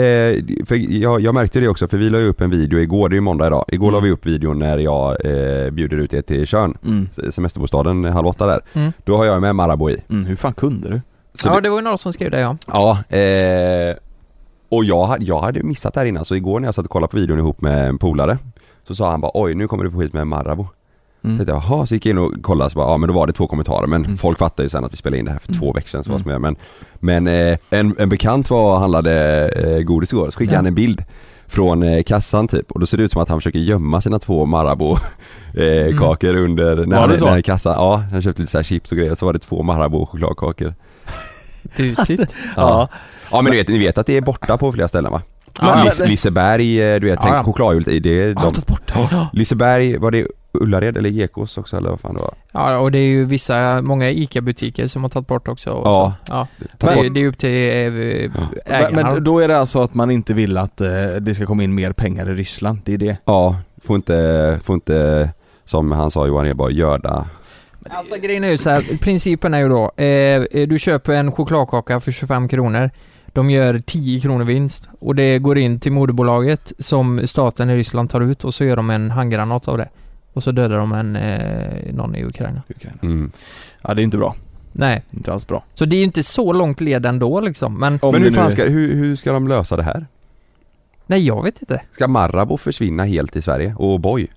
B: eh, för jag, jag märkte det också för vi la ju upp en video igår, det är ju måndag idag. Igår la
C: Mm.
B: vi upp videon när jag eh, bjuder ut er till Tjörn,
C: Mm.
B: semesterbostaden halv åtta där.
D: Mm.
B: Då har jag med Marabou i.
C: Mm, hur fan kunde du?
B: Så
D: Ja,
B: det,
D: det var ju några som skrev det
C: *laughs*
D: ja.
B: ja eh, och jag, hade- jag hade missat det här innan så igår när jag satt och kollade på videon ihop med en polare så sa han bara oj nu kommer du få skit med Marabou.
C: Mm.
B: Tänkte jag, jaha, så gick jag in och kollade så bara, ja men då var det två kommentarer men
C: Mm.
B: folk fattar ju sen att vi spelade in det här för
D: Mm.
B: två veckor sedan så vad som är. men Men eh, en, en bekant var och handlade eh, godis igår, så skickade
D: Ja.
B: han en bild från eh, kassan typ och då ser det ut som att han försöker gömma sina två Marabou *laughs* eh, kakor under, när
C: Var
B: han,
C: det så?
B: när kassan, ja han köpte lite så här chips och grejer så var det två Marabou chokladkakor
D: Busigt.
B: Ja, ja men du vet, ni vet att det är borta på flera ställen va?
C: Ja,
B: Lis-
C: men-
B: Liseberg, eh, du vet,
D: Ja,
B: tänk
D: ja.
B: chokladhjulet i det, är
C: Har han
B: de,
C: tagit bort det?
B: Liseberg, var det Ullared eller Gekås också eller vad fan det var?
D: Ja, och det är ju vissa, många ICA-butiker som har tagit bort också. Och
B: Ja.
D: Så. ja.
B: Ta
D: Det,
B: bort-
D: är- det är upp till eh,
C: Men,
D: ägarna.
C: men då är det alltså att man inte vill att eh, det ska komma in mer pengar i Ryssland, det är det.
B: Ja, får inte, får inte som han sa Johan Eborg, göda.
D: Alltså grejen är ju så här, principen är ju då, eh, du köper en chokladkaka för 25 kronor, de gör 10 kronor vinst och det går in till moderbolaget som staten i Ryssland tar ut och så gör de en handgranat av det. Och så dödar de en, eh, någon i Ukraina.
B: Mm.
C: Ja det är inte bra,
D: Nej,
C: inte alls bra.
D: så det är ju inte så långt led ändå liksom, men
C: Om
B: Men hur
C: det
B: fan
C: nu-
B: ska, hur, hur ska de lösa det här?
D: nej jag vet inte.
B: Ska Marabou försvinna helt i Sverige? Och boy.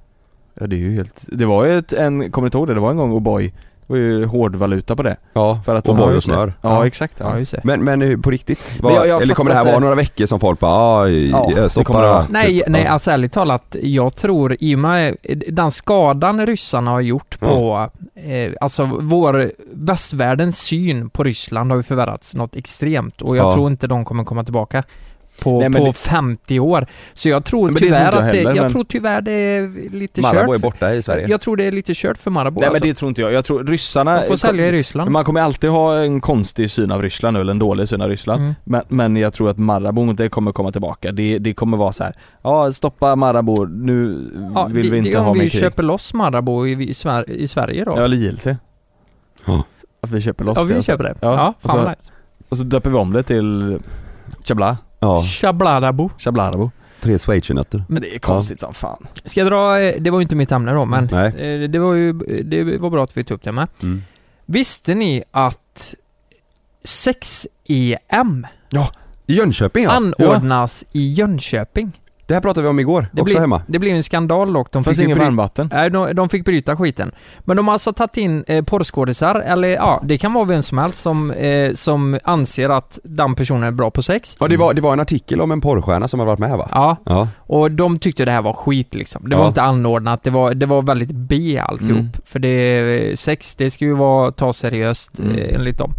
C: Ja det är ju helt, det var ju ett, en, kommer du inte ihåg det? Det var en gång O'boy, det var ju hårdvaluta på det.
B: Ja,
C: För att
B: och
C: de har
B: boy
C: ju
B: och smör.
C: Ja exakt.
D: Ja,
C: Ja.
D: just det.
B: Men, men hur- på riktigt?
C: Men
B: Vad,
C: jag- jag
B: eller kommer det här
C: fattar
B: vara
C: inte-
B: några veckor som folk bara,
C: Ja,
B: ja,
C: det
B: stoppa
C: kommer det vara.
D: Nej,
B: typ,
D: nej
B: ja.
D: alltså ärligt talat, jag tror i och med den skadan ryssarna har gjort på, eh, alltså vår västvärldens syn på Ryssland har ju förvärrats något extremt och jag
B: Ja.
D: tror inte de kommer komma tillbaka på,
C: Nej, men
D: på
C: det-
D: 50 år. Så jag tror
C: Men det tror
D: tyvärr
C: inte jag
D: att det,
C: heller,
D: jag
C: men-
D: tror tyvärr det är lite
B: Marabou är
D: kört. för-
B: borta i Sverige.
D: jag tror det är lite kört för Marabou
C: Nej men
D: alltså.
C: det tror inte jag, jag tror ryssarna...
D: Man får sälja i Ryssland.
C: Man kommer alltid ha en konstig syn av Ryssland nu, eller en dålig syn av Ryssland.
D: Mm.
C: Men, men jag tror att Marabou, det kommer komma tillbaka. Det, det kommer vara så här. ja stoppa Marabou, nu
D: Ja,
C: vill
D: det,
C: vi
D: det
C: inte
D: är
C: ha
D: om
C: mer
D: vi
C: krig.
D: köper loss Marabou i, i, Sver- i Sverige då.
C: Ja,
D: Ja,
C: eller JLC.
B: Ja.
C: Att vi köper loss det.
D: vi
C: alltså.
D: köper det.
C: Ja,
D: Ja,
C: och
D: fan
C: så-
D: vad nice.
C: Och så döper vi om det till Chabla,
B: ja,
D: Shablarabo.
C: Chablarabo.
B: tre schweizernötter.
C: Men det är konstigt som fan.
D: Ska jag dra, eh, det var ju inte mitt ämne då men
B: Nej.
D: eh, det var ju, det var bra att vi tog upp det med.
B: Mm.
D: Visste ni att 6-EM
B: I Jönköping ja.
D: anordnas i Jönköping?
B: Det här pratade vi om igår,
D: Det
B: också
D: blir,
B: hemma.
D: Det blev en skandal dock, de
C: Fanns
D: fick, ju
C: inget
D: bry-
C: varmvatten.
D: Nej, de, de fick bryta skiten. Men de har alltså tagit in eh, porrskådisar, eller ja, det kan vara vem som helst som, eh, som anser att den personen är bra på sex.
B: Ja det var, det var en artikel om en porrstjärna som har varit med va?
D: Ja,
B: Ja.
D: Och de tyckte det här var skit liksom. Det
B: Ja.
D: var inte anordnat, det var, det var väldigt B alltihop.
C: Mm.
D: För det, sex, det ska ju vara, ta seriöst
C: Mm.
D: eh, enligt dem.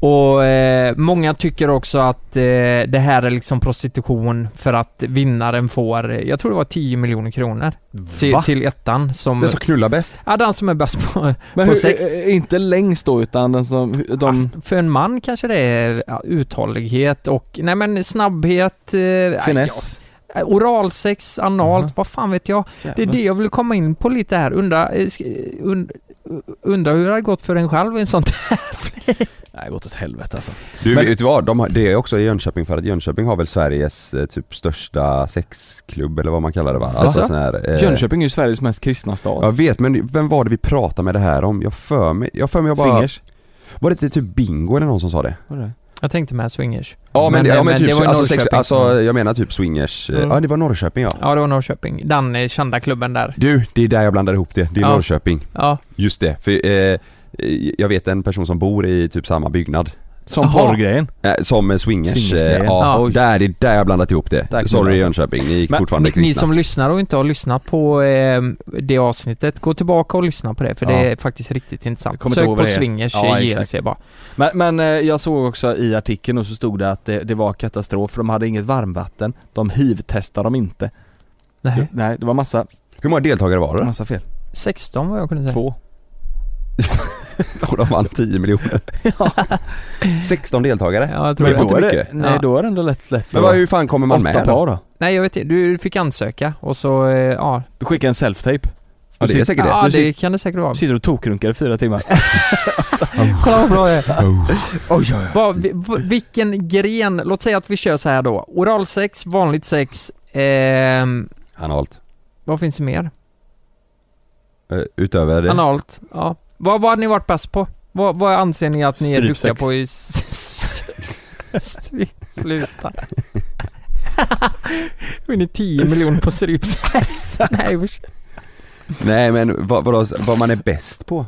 D: Och eh, många tycker också att eh, det här är liksom prostitution för att vinnaren får, eh, jag tror det var 10 miljoner kronor till,
C: Va?
D: till ettan som,
B: Den som knullar bäst.
D: ja den som är bäst på,
C: Men
D: på
C: hur,
D: sex.
C: eh, inte längst då utan den som, hur- de...
D: Alltså, för en man kanske det är ja, uthållighet och, nej men snabbhet, eh, ja,
C: finess. Mhm.
D: oralsex, analt, vad fan vet jag. Det är det jag vill komma in på lite här. Undra, eh, sk- und, undra hur det har gått för en själv i en sån
C: Nej, gått åt helvete alltså.
B: Du
C: Men-
B: vet du vad, de har, det är också i Jönköping för att Jönköping har väl Sveriges eh, typ största sexklubb eller vad man kallar det va? Alltså
C: Va?
B: sån här, eh,
C: Jönköping är ju Sveriges mest kristna stad.
B: Jag vet men vem var det vi pratade med det här om? Jag för mig, jag för mig jag bara,
C: Swingers.
B: var det inte typ Bingo eller någon som sa det?
C: Var det?
D: Jag tänkte med swingers.
B: Ja men,
D: Men-
B: ja, men,
D: men
B: typ,
D: det var i
B: alltså, sex,
D: Norrköping.
B: alltså jag menar typ swingers, eh,
D: Mm.
B: ja det var Norrköping ja.
D: Ja, det var Norrköping. Den eh, kända klubben där.
B: Du, det är där jag blandar ihop det, det är
D: Ja.
B: Norrköping.
D: Ja,
B: Just det, för eh, eh, jag vet en person som bor i typ samma byggnad
C: Som
D: Jaha.
C: porrgrejen.
B: Eh, Som eh, swingers, eh,
C: Swingersgrejen.
B: ja,
C: Ja.
B: där, det är där jag blandat ihop det.
C: Tack,
B: Sorry
C: Jonas.
B: Jönköping, ni gick
D: Men
B: fortfarande
D: ni,
B: kristna.
D: ni som lyssnar och inte har lyssnat på eh, det avsnittet, gå tillbaka och lyssna på det för
C: Ja.
D: det är faktiskt riktigt
C: Jag
D: intressant.
C: kommer
D: Sök
C: inte ihåg
D: på
C: vad det är.
D: swingers
C: Ja,
D: i
C: exakt.
D: GLC bara.
C: Men, men eh, jag såg också i artikeln och så stod det att det, det var katastrof för de hade inget varmvatten. De hiv-testade dem inte.
D: Nej.
C: Nej, det var massa,
B: Hur många deltagare var det?
C: massa fel.
D: 16 vad jag kunde säga.
C: Två.
B: Och de vann
D: *laughs*
B: 10 miljoner. 16 deltagare?
D: Ja, jag tror
B: Men
D: det.
B: då-
C: är
B: inte
C: det,
B: mycket.
C: nej,
D: Ja.
C: då är det ändå lätt, lätt.
B: Men vad, hur fan kommer man med
C: Åtta
B: då?
C: par då?
D: Nej jag vet inte, du fick ansöka och så, eh, ja.
C: Du skickar en self-tape.
B: Ja, det är säkert det.
D: Ja
C: Du
D: det
C: sit-
D: kan det säkert vara.
C: Du sitter och tokrunkar i
B: *laughs*
C: fyra timmar.
D: Kolla vad bra jag är.
B: Oh. Oj, oj, oj.
D: Bara, vi- v- vilken gren, låt säga att vi kör så här då. Oralsex, vanligt sex, ehm,
B: Analt.
D: vad finns det mer?
B: Eh, Utöver det?
D: Analt, ja. Vad, vad har ni varit bäst på? Vad, vad anser ni att ni är
C: Strypsex.
D: duktiga på i... *laughs* Stry- Sluta. *laughs* Får ni 10 miljoner på strypsex? *laughs* Nej usch.
B: Nej men vad, vadå, vad man är bäst på?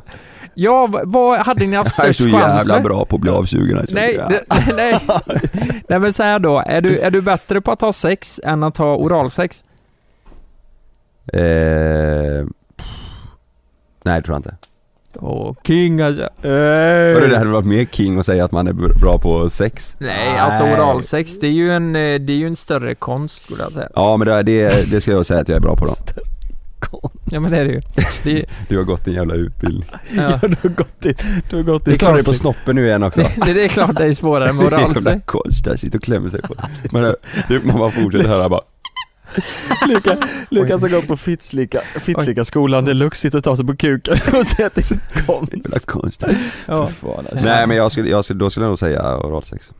D: Ja, vad, vad hade ni haft
B: Jag är
D: störst
B: så
D: chans
B: jävla
D: med?
B: bra på att bli avsugen alltså.
D: Nej,
B: Ja.
D: det, *laughs* nej, nej men så här då, är du, är du bättre på att ha sex än att ha oralsex?
B: Eh, pff. nej det tror jag inte.
D: Åh, king alltså.
C: Eh,
B: Vadå, det hade varit mer king att säga att man är b- bra på sex?
D: Nej, alltså oralsex, det är ju en, eh, det är ju en större konst skulle jag säga.
B: Ja men det, det, det ska jag säga att jag är bra på då.
D: Ja men det är det ju. Det,
B: Du har gått en jävla utbildning.
D: ja.
C: *laughs* du har gått i, du har gått i
B: Det är klart det är på
C: klassik.
B: snoppen nu igen också.
D: det, det, det är klart det är
B: *laughs*
D: svårare med oralsex.
B: Konstigt, sitter och klämmer sig på. Men eh, det, man bara fortsätter
D: *laughs*
B: höra bara.
C: *laughs* Luka, Lukas har gått på Fittslika, Fittslika skolan deluxe, sitter och tar sig på *laughs* kuken och säger att det är så konstigt.
B: Jävla konstigt.
D: Ja.
B: alltså. Nej men jag skulle, jag skulle, då skulle jag nog säga oralsex.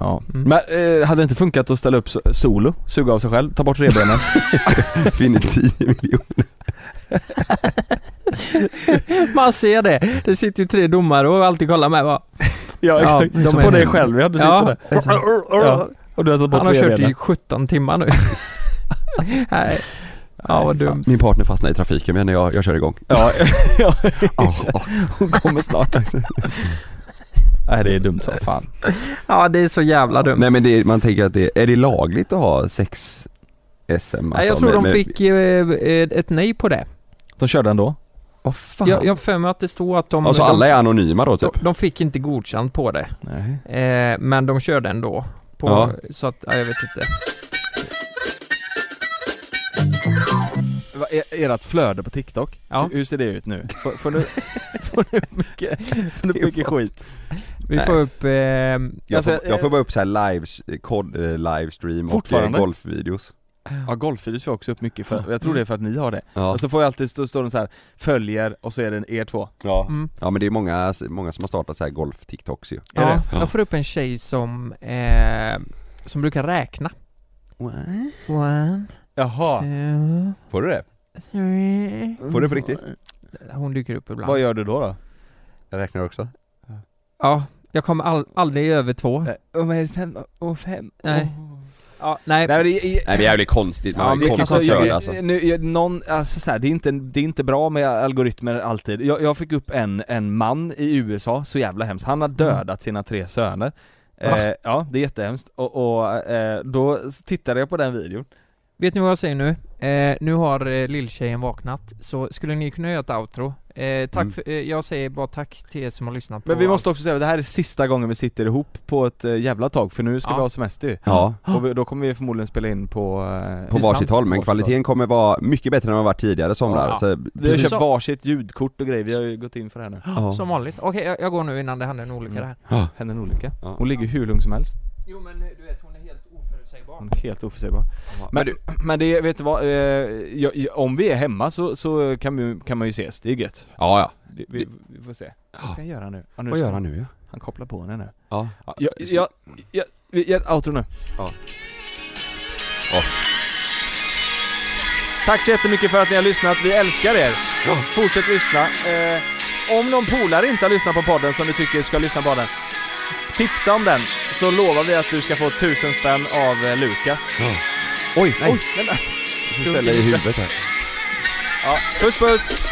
C: Ja.
D: Mm.
C: Men eh, hade det inte funkat att ställa upp so- solo, suga av sig själv, ta bort revbenen?
B: Vinner 10 *laughs* miljoner.
D: Man ser det, det sitter ju tre domare och alltid kollar med va.
C: *laughs* ja exakt,
D: de
C: så
D: är-
C: på dig själv ja, du sitter
D: Ja,
C: där. Ja. Och du har tagit bort
D: Han har kört i
C: revbenen.
D: 17 timmar nu. Nej. Ja vad dumt.
B: Min partner fastnar i trafiken men jag, jag kör igång.
C: *laughs* Ja, ja,
D: *laughs*
B: Oh, oh.
C: *laughs* hon kommer *laughs* snart. Nej det är dumt som fan.
D: Ja det är så jävla dumt.
B: Nej men det, man tänker att det, är det lagligt att ha sex SM?
D: Nej, jag
B: alltså,
D: tror
B: med-
D: de
B: med-
D: fick eh, eh, ett nej på det.
C: De körde ändå?
B: Vad fan?
D: Jag jag har för mig att det stod att de...
B: alltså
D: de,
B: alla är anonyma då typ?
D: de, de fick inte godkänt på det.
C: Nej.
D: Eh, men de körde ändå. På,
B: Ja.
D: Så att, ja, jag vet inte.
C: Va, e- Ert flöde på TikTok,
D: Ja.
C: hur, hur ser det ut nu? Får, får du, *laughs* får du mycket, får du mycket skit?
D: Vi
B: Nej.
D: får upp... Eh,
B: Jag,
C: Alltså,
B: får, jag får
C: eh,
B: bara upp så här lives, kod, eh, livestream och eh,
C: Fortfarande?
B: golfvideos.
C: Ja golfvideos får jag också upp mycket, för, jag tror det är för att ni har det.
B: Ja.
C: Och
D: Alltså,
C: så får jag alltid stå, stå den så här följer och så är det er två.
B: Ja.
D: mm,
B: ja men det är många, många som har startat så här golf-tiktoks ju.
C: Är
D: ja,
C: det?
D: jag får upp en tjej som... Eh, som brukar räkna. One,
C: Jaha,
D: two,
B: Får du det?
D: three.
B: Får du det på riktigt?
D: Hon dyker upp ibland.
C: vad gör du då då?
B: Jag räknar också.
D: Ja, jag kommer all, aldrig över två.
C: Eh, Och vad är det, fem och fem?
D: Nej. Ja, nej.
C: Nej men det är...
B: Nej det är jävligt konstigt, man
D: Ja,
B: ja,
D: men det
B: är
D: kan-
B: konstigt
C: Alltså,
B: alltså,
C: jag,
B: alltså.
C: Nu, jag, någon, alltså så här, det, är inte, det är inte bra med algoritmer alltid. Jag, jag fick upp en, en man i USA, så jävla hemskt. Han har dödat sina tre söner.
D: Va?
C: Eh, ja, det är jättehemskt. Och, och eh, då tittade jag på den videon.
D: Vet ni vad jag säger nu? Eh, nu har eh, lilltjejen vaknat, så skulle ni kunna göra ett outro? Eh, tack
B: Mm.
D: för, eh, jag säger bara tack till er som har lyssnat på
C: Men vi måste
D: allt.
C: också säga att det här är sista gången vi sitter ihop på ett eh, jävla tag, för nu ska
D: Ja.
C: vi ha semester ju.
B: Ja,
C: Och vi, då kommer vi förmodligen spela in på... Eh,
B: på varsitt håll men
C: Varsitt
B: kvaliteten kommer vara mycket bättre än vad den varit tidigare somrar.
D: Ja.
B: Så,
C: Vi har
D: Precis.
C: köpt varsitt ljudkort och grejer, vi har ju gått in för det här nu.
B: ja.
D: Som vanligt. Okej, jag, jag går nu innan det händer en olycka
C: Mm.
D: där.
C: Händer en olycka.
B: Ja.
C: Hon ligger hur lugn som helst.
D: Jo men eh, du vet, hon är helt oförutsägbar.
C: Hon är helt oförutsägbar.
B: Men,
C: Men,
B: du,
C: men det, vet du vad? Eh, jag, jag, om vi är hemma så, så kan, vi, kan man ju ses, det är gött.
B: ja ja.
C: Det, vi, vi får se. Vad ska han göra nu? Ja, nu
B: Vad
C: ska
B: gör han nu ja?
C: Han kopplar på henne nu.
B: Ja.
C: Ja, jag, jag, jag, vi- jag, outro nu.
B: Ja.
C: Ja. Tack så jättemycket för att ni har lyssnat, vi älskar er! Fortsätt lyssna. Eh, om någon polare inte har lyssnat på podden som du tycker ska lyssna på den, tipsa om den så lovar vi att du ska få tusen spänn av eh, Lukas.
B: Oj, nej.
C: Oj, den där.
B: ställa i huvudet här.
C: Ja, puss puss!